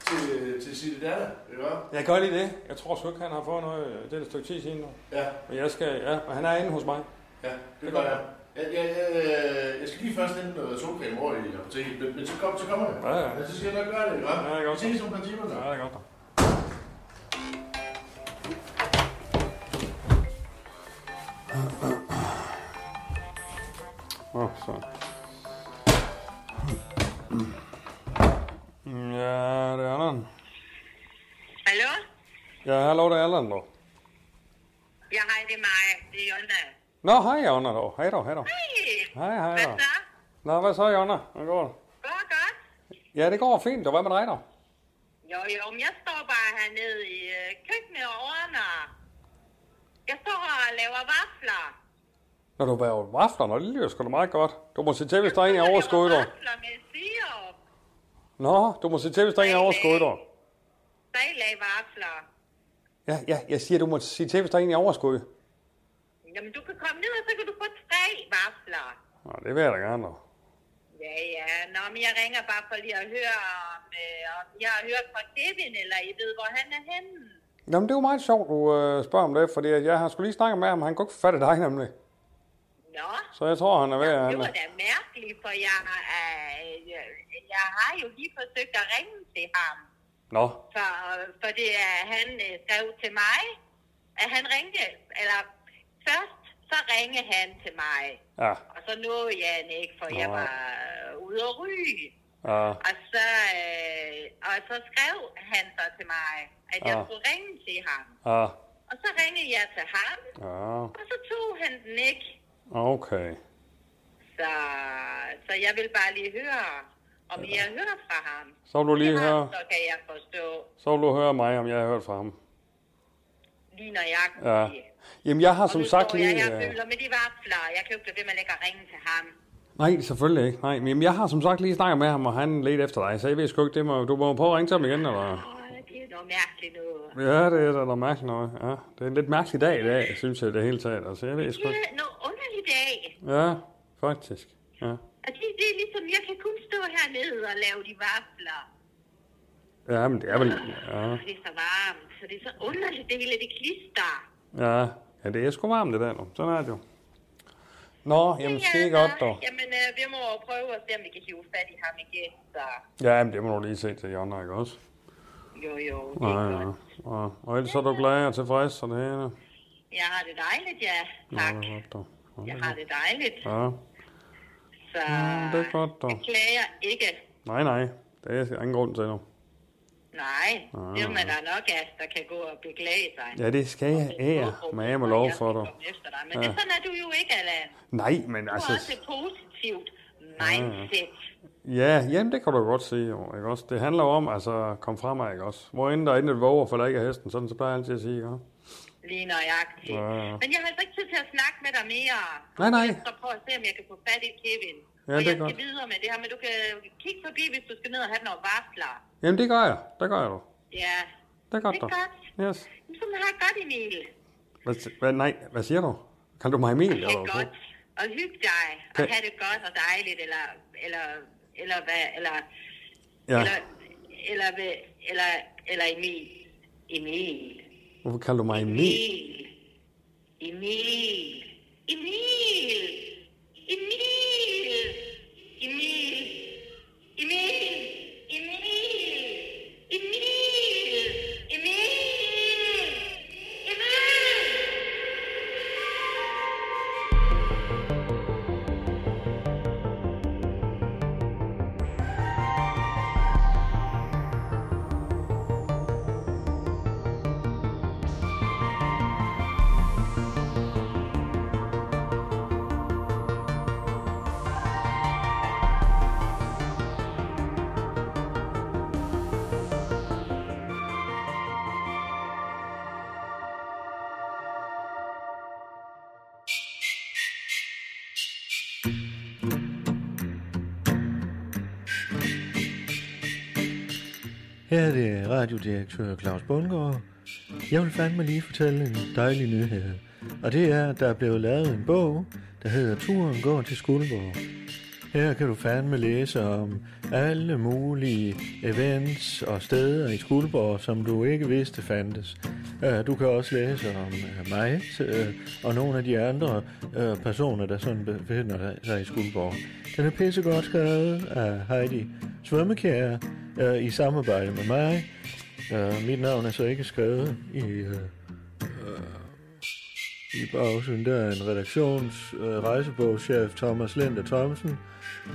S7: til, til Sille Datter. Ikke også?
S4: Jeg kan godt lide det. Jeg tror sgu ikke, han har fået noget. øh, Det er et stykke tid siden nu.
S7: Ja,
S4: Men jeg skal, ja, og han er inde hos mig.
S7: ja, det
S4: Det
S7: gør
S4: gør
S7: jeg. Jeg, jeg, jeg, jeg skal lige først hente noget solcreme over i apoteket, men, men så, kom, så kommer jeg.
S4: Ja, ja.
S7: Ja, så skal jeg nok gøre det, ikke?
S4: Ja, det er godt.
S7: Vi ses om et par timer,
S4: Ja,
S7: så.
S4: det er godt. dog. Åh, oh, så. Ja, det er der.
S10: Hallo?
S4: Ja, hallå, det är Erland då.
S10: Ja, hej, det er mig. Det er Jonna.
S4: Nå, hej Jonna då. Hej då, hej då.
S10: Hej.
S4: Hej, hej
S10: Hvad
S4: då.
S10: så?
S4: Nå, hvad så Jonna? Hvad går det?
S10: Går godt?
S4: Ja, det går fint. Og hvad med dig dog?
S10: Jo, jo, men jeg står bare hernede i øh, køkkenet og ordner. Jeg står og laver vafler.
S4: Når du bærer vafler, nå, det lyder sgu da meget godt. Du må se til, hvis der er en i overskud dog.
S10: Vafler med sirup.
S4: Nå, du må se til, hvis der er en i overskud dog.
S10: Så I laver vafler.
S4: Ja, ja, jeg siger, du må sige til, hvis der er en i overskud.
S10: Jamen, du kan komme ned, og så kan du få tre vafler.
S4: Nå, det vil jeg da gerne dog.
S10: Ja, ja. Nå, men jeg ringer bare for lige at høre, om, øh, om jeg har hørt fra Kevin, eller I ved, hvor han er henne.
S4: Jamen, det er jo meget sjovt, du øh, spørger om det, fordi at jeg har skulle lige snakket med ham, han kunne ikke fatte dig nemlig.
S10: Nå,
S4: Så jeg tror, han er ved at...
S10: det
S4: Han,
S10: var da mærkeligt, for jeg, øh, jeg, jeg har jo lige forsøgt at ringe til ham.
S4: nå,
S10: For, for det er, han øh, skrev til mig, at han ringte, eller først så ringede han til mig.
S4: ja,
S10: Og så nåede jeg han ikke, for jeg
S4: Nå.
S10: var øh, ude at ryge.
S4: ja,
S10: Og så, øh, og så skrev han så til mig, at jeg
S4: Ah.
S10: skulle ringe til ham.
S4: ja,
S10: Og så ringede jeg til ham,
S4: ja,
S10: og så tog han den ikke.
S4: okay.
S10: Så, så jeg vil bare lige høre, om I har hørt fra ham.
S4: Så vil du lige
S10: Det har
S4: høre,
S10: han, Så kan jeg forstå,
S4: så vil du høre mig, om jeg har hørt fra ham.
S10: lige når jeg kan
S4: Ja.
S10: sige.
S4: Jamen, jeg har
S10: Og
S4: som
S10: nu
S4: sagt
S10: står
S4: lige...
S10: Jeg, jeg
S4: øh,
S10: føler med de vafler. Jeg kan jo ikke blive ved med at lægge og ringe til ham.
S4: Nej, selvfølgelig ikke. Nej, men jamen, jeg har som sagt lige snakket med ham, og han ledte efter dig, så jeg ved sgu ikke, det må, du må prøve at ringe til ham igen, eller...
S10: Åh, det er noget mærkeligt noget.
S4: Ja, det er da noget mærkeligt noget. Ja, det er en lidt mærkelig dag i dag, synes jeg, i det hele taget. Altså, jeg ved sgu
S10: Det
S4: ikke.
S10: er noget underligt dag.
S4: Ja, faktisk. Ja,
S10: Og det, det er ligesom, jeg kan kun stå hernede og lave de vafler.
S4: ja men det er vel... Ja,
S10: Det er så varmt, så det er så underligt, det hele det klister.
S4: ja. ja det er sgu varmt det der nu. Sådan er det jo. Nå, jamen skide godt dog.
S10: Jamen, øh, vi må jo prøve at se, om vi kan hive fat i ham igen. Så
S4: Ja, men det må du lige se til Jonna, ikke også?
S10: jo, jo, det
S4: Ja,
S10: er
S4: ja.
S10: godt.
S4: Og, og ellers er du glad og tilfreds, og det hele.
S10: Jeg har det dejligt, ja. Tak.
S4: Ja, det er godt dog.
S10: Jeg har det dejligt,
S4: Ja,
S10: så
S4: mm, det er godt dog.
S10: jeg klager ikke.
S4: Nej, nej. Det er ingen grund til nu.
S10: Nej,
S4: Ah.
S10: det er man da nok af, der kan gå og beklage sig.
S4: Ja, det skal jeg ære, men jeg må lov for dig.
S10: komme efter dig. Men ja. det,
S4: Ja.
S10: sådan er du jo ikke, Allan.
S4: Nej, men
S10: Du har også
S4: altså...
S10: et positivt mindset.
S4: Ja, jamen det kan du godt sige, jo, ikke også? Det handler jo om, altså, kom frem ikke også? Hvor end der er et våger, falder ikke af hesten, sådan så plejer jeg altid at sige, ikke også?
S10: Lige nøjagtigt.
S4: Ja, ja.
S10: Men jeg har altså ikke tid til at snakke med dig mere.
S4: Nej, nej.
S10: Så prøv at se, om jeg kan få fat i Kevin.
S4: Ja,
S10: og
S4: det er
S10: jeg skal
S4: godt.
S10: videre med det her, men du kan kigge forbi, hvis du skal ned og have noget varsler.
S4: Jamen det gør jeg, det gør jeg du.
S10: Ja.
S4: Det er godt
S10: Det er
S4: dog.
S10: godt.
S4: Yes.
S10: Men Sådan har jeg godt, Emil.
S4: Hvad, si- hvad, nej, hvad siger du? Kan du mig Emil?
S10: Det er
S4: Eller, hvad?
S10: godt. Og hygge dig. Og
S4: Kan-
S10: have det godt og dejligt. Eller, eller, eller hvad? Eller,
S4: ja,
S10: eller, eller, hvad? eller, eller Emil. e Emil.
S4: hvorfor kalder du
S10: E
S4: mig Emil?
S10: Emil. E Emil. Emil. E Emil. E Emil. E Emil. E Emil. E Emil. Emil. E Emil.
S1: Her er det radiodirektør Claus Bundgaard. Jeg vil fandme lige fortælle en dejlig nyhed. Og det er, at der er blevet lavet en bog, der hedder Turen går til Skuldborg. Her kan du fandme læse om alle mulige events og steder i Skuldborg, som du ikke vidste fandtes. Øh, Du kan også læse om øh, mig øh, og nogle af de andre øh, personer, der sådan befinder sig i Skuldborg. Den er pissegodt skrevet af Heidi Svømmekær øh, i samarbejde med mig. Øh, Mit navn er så ikke skrevet i... øh, i bagsiden der er en redaktions øh, rejsebogschef Thomas Linder Thomsen,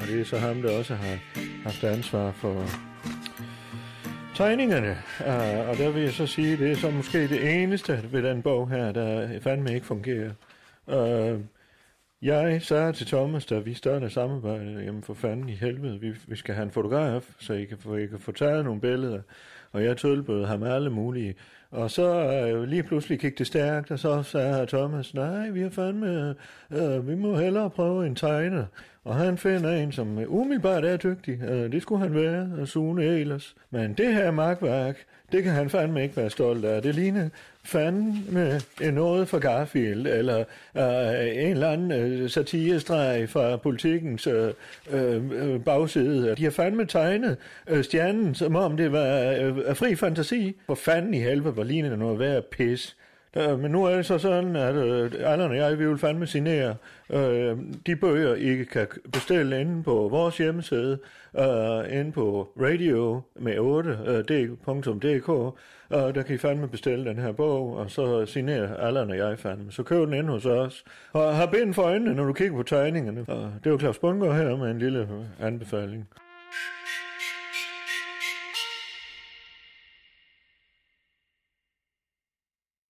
S1: og det er så ham, der også har haft ansvar for tegningerne. Uh, og der vil jeg så sige, det er så måske det eneste ved den bog her, der fandme ikke fungerer. Uh, jeg sagde til Thomas, da vi startede samarbejdet, jamen for fanden i helvede, vi, vi skal have en fotograf, så I kan, få, I kan få taget nogle billeder. Og jeg tilbød ham alle mulige. Og så øh, lige pludselig gik det stærkt, og så sagde Thomas, nej, vi har fandme, øh, vi må hellere prøve en tegner. Og han finder en, som umiddelbart er dygtig. Øh, det skulle han være, og Sune Elers. Men det her magtværk, det kan han fandme ikke være stolt af. Det ligner fandme noget fra Garfield, eller øh, en eller anden øh, satirestreg fra politikens øh, øh, øh, bagside. De har fandme tegnet øh, stjernen, som om det var øh, af fri fantasi. Hvor fanden i helvede, hvor ligner det noget værd pis. Øh, men nu er det så sådan, at øh, Allan og jeg, vi vil fandme signere øh, de bøger, I kan bestille inde på vores hjemmeside, øh, inde på radio med øh, 8.dk, øh, der kan I fandme bestille den her bog, og så signere Allan og jeg fandme. Så køb den inde hos os, og har bind for øjnene, når du kigger på tegningerne. Og det er jo Claus Bunker her med en lille anbefaling.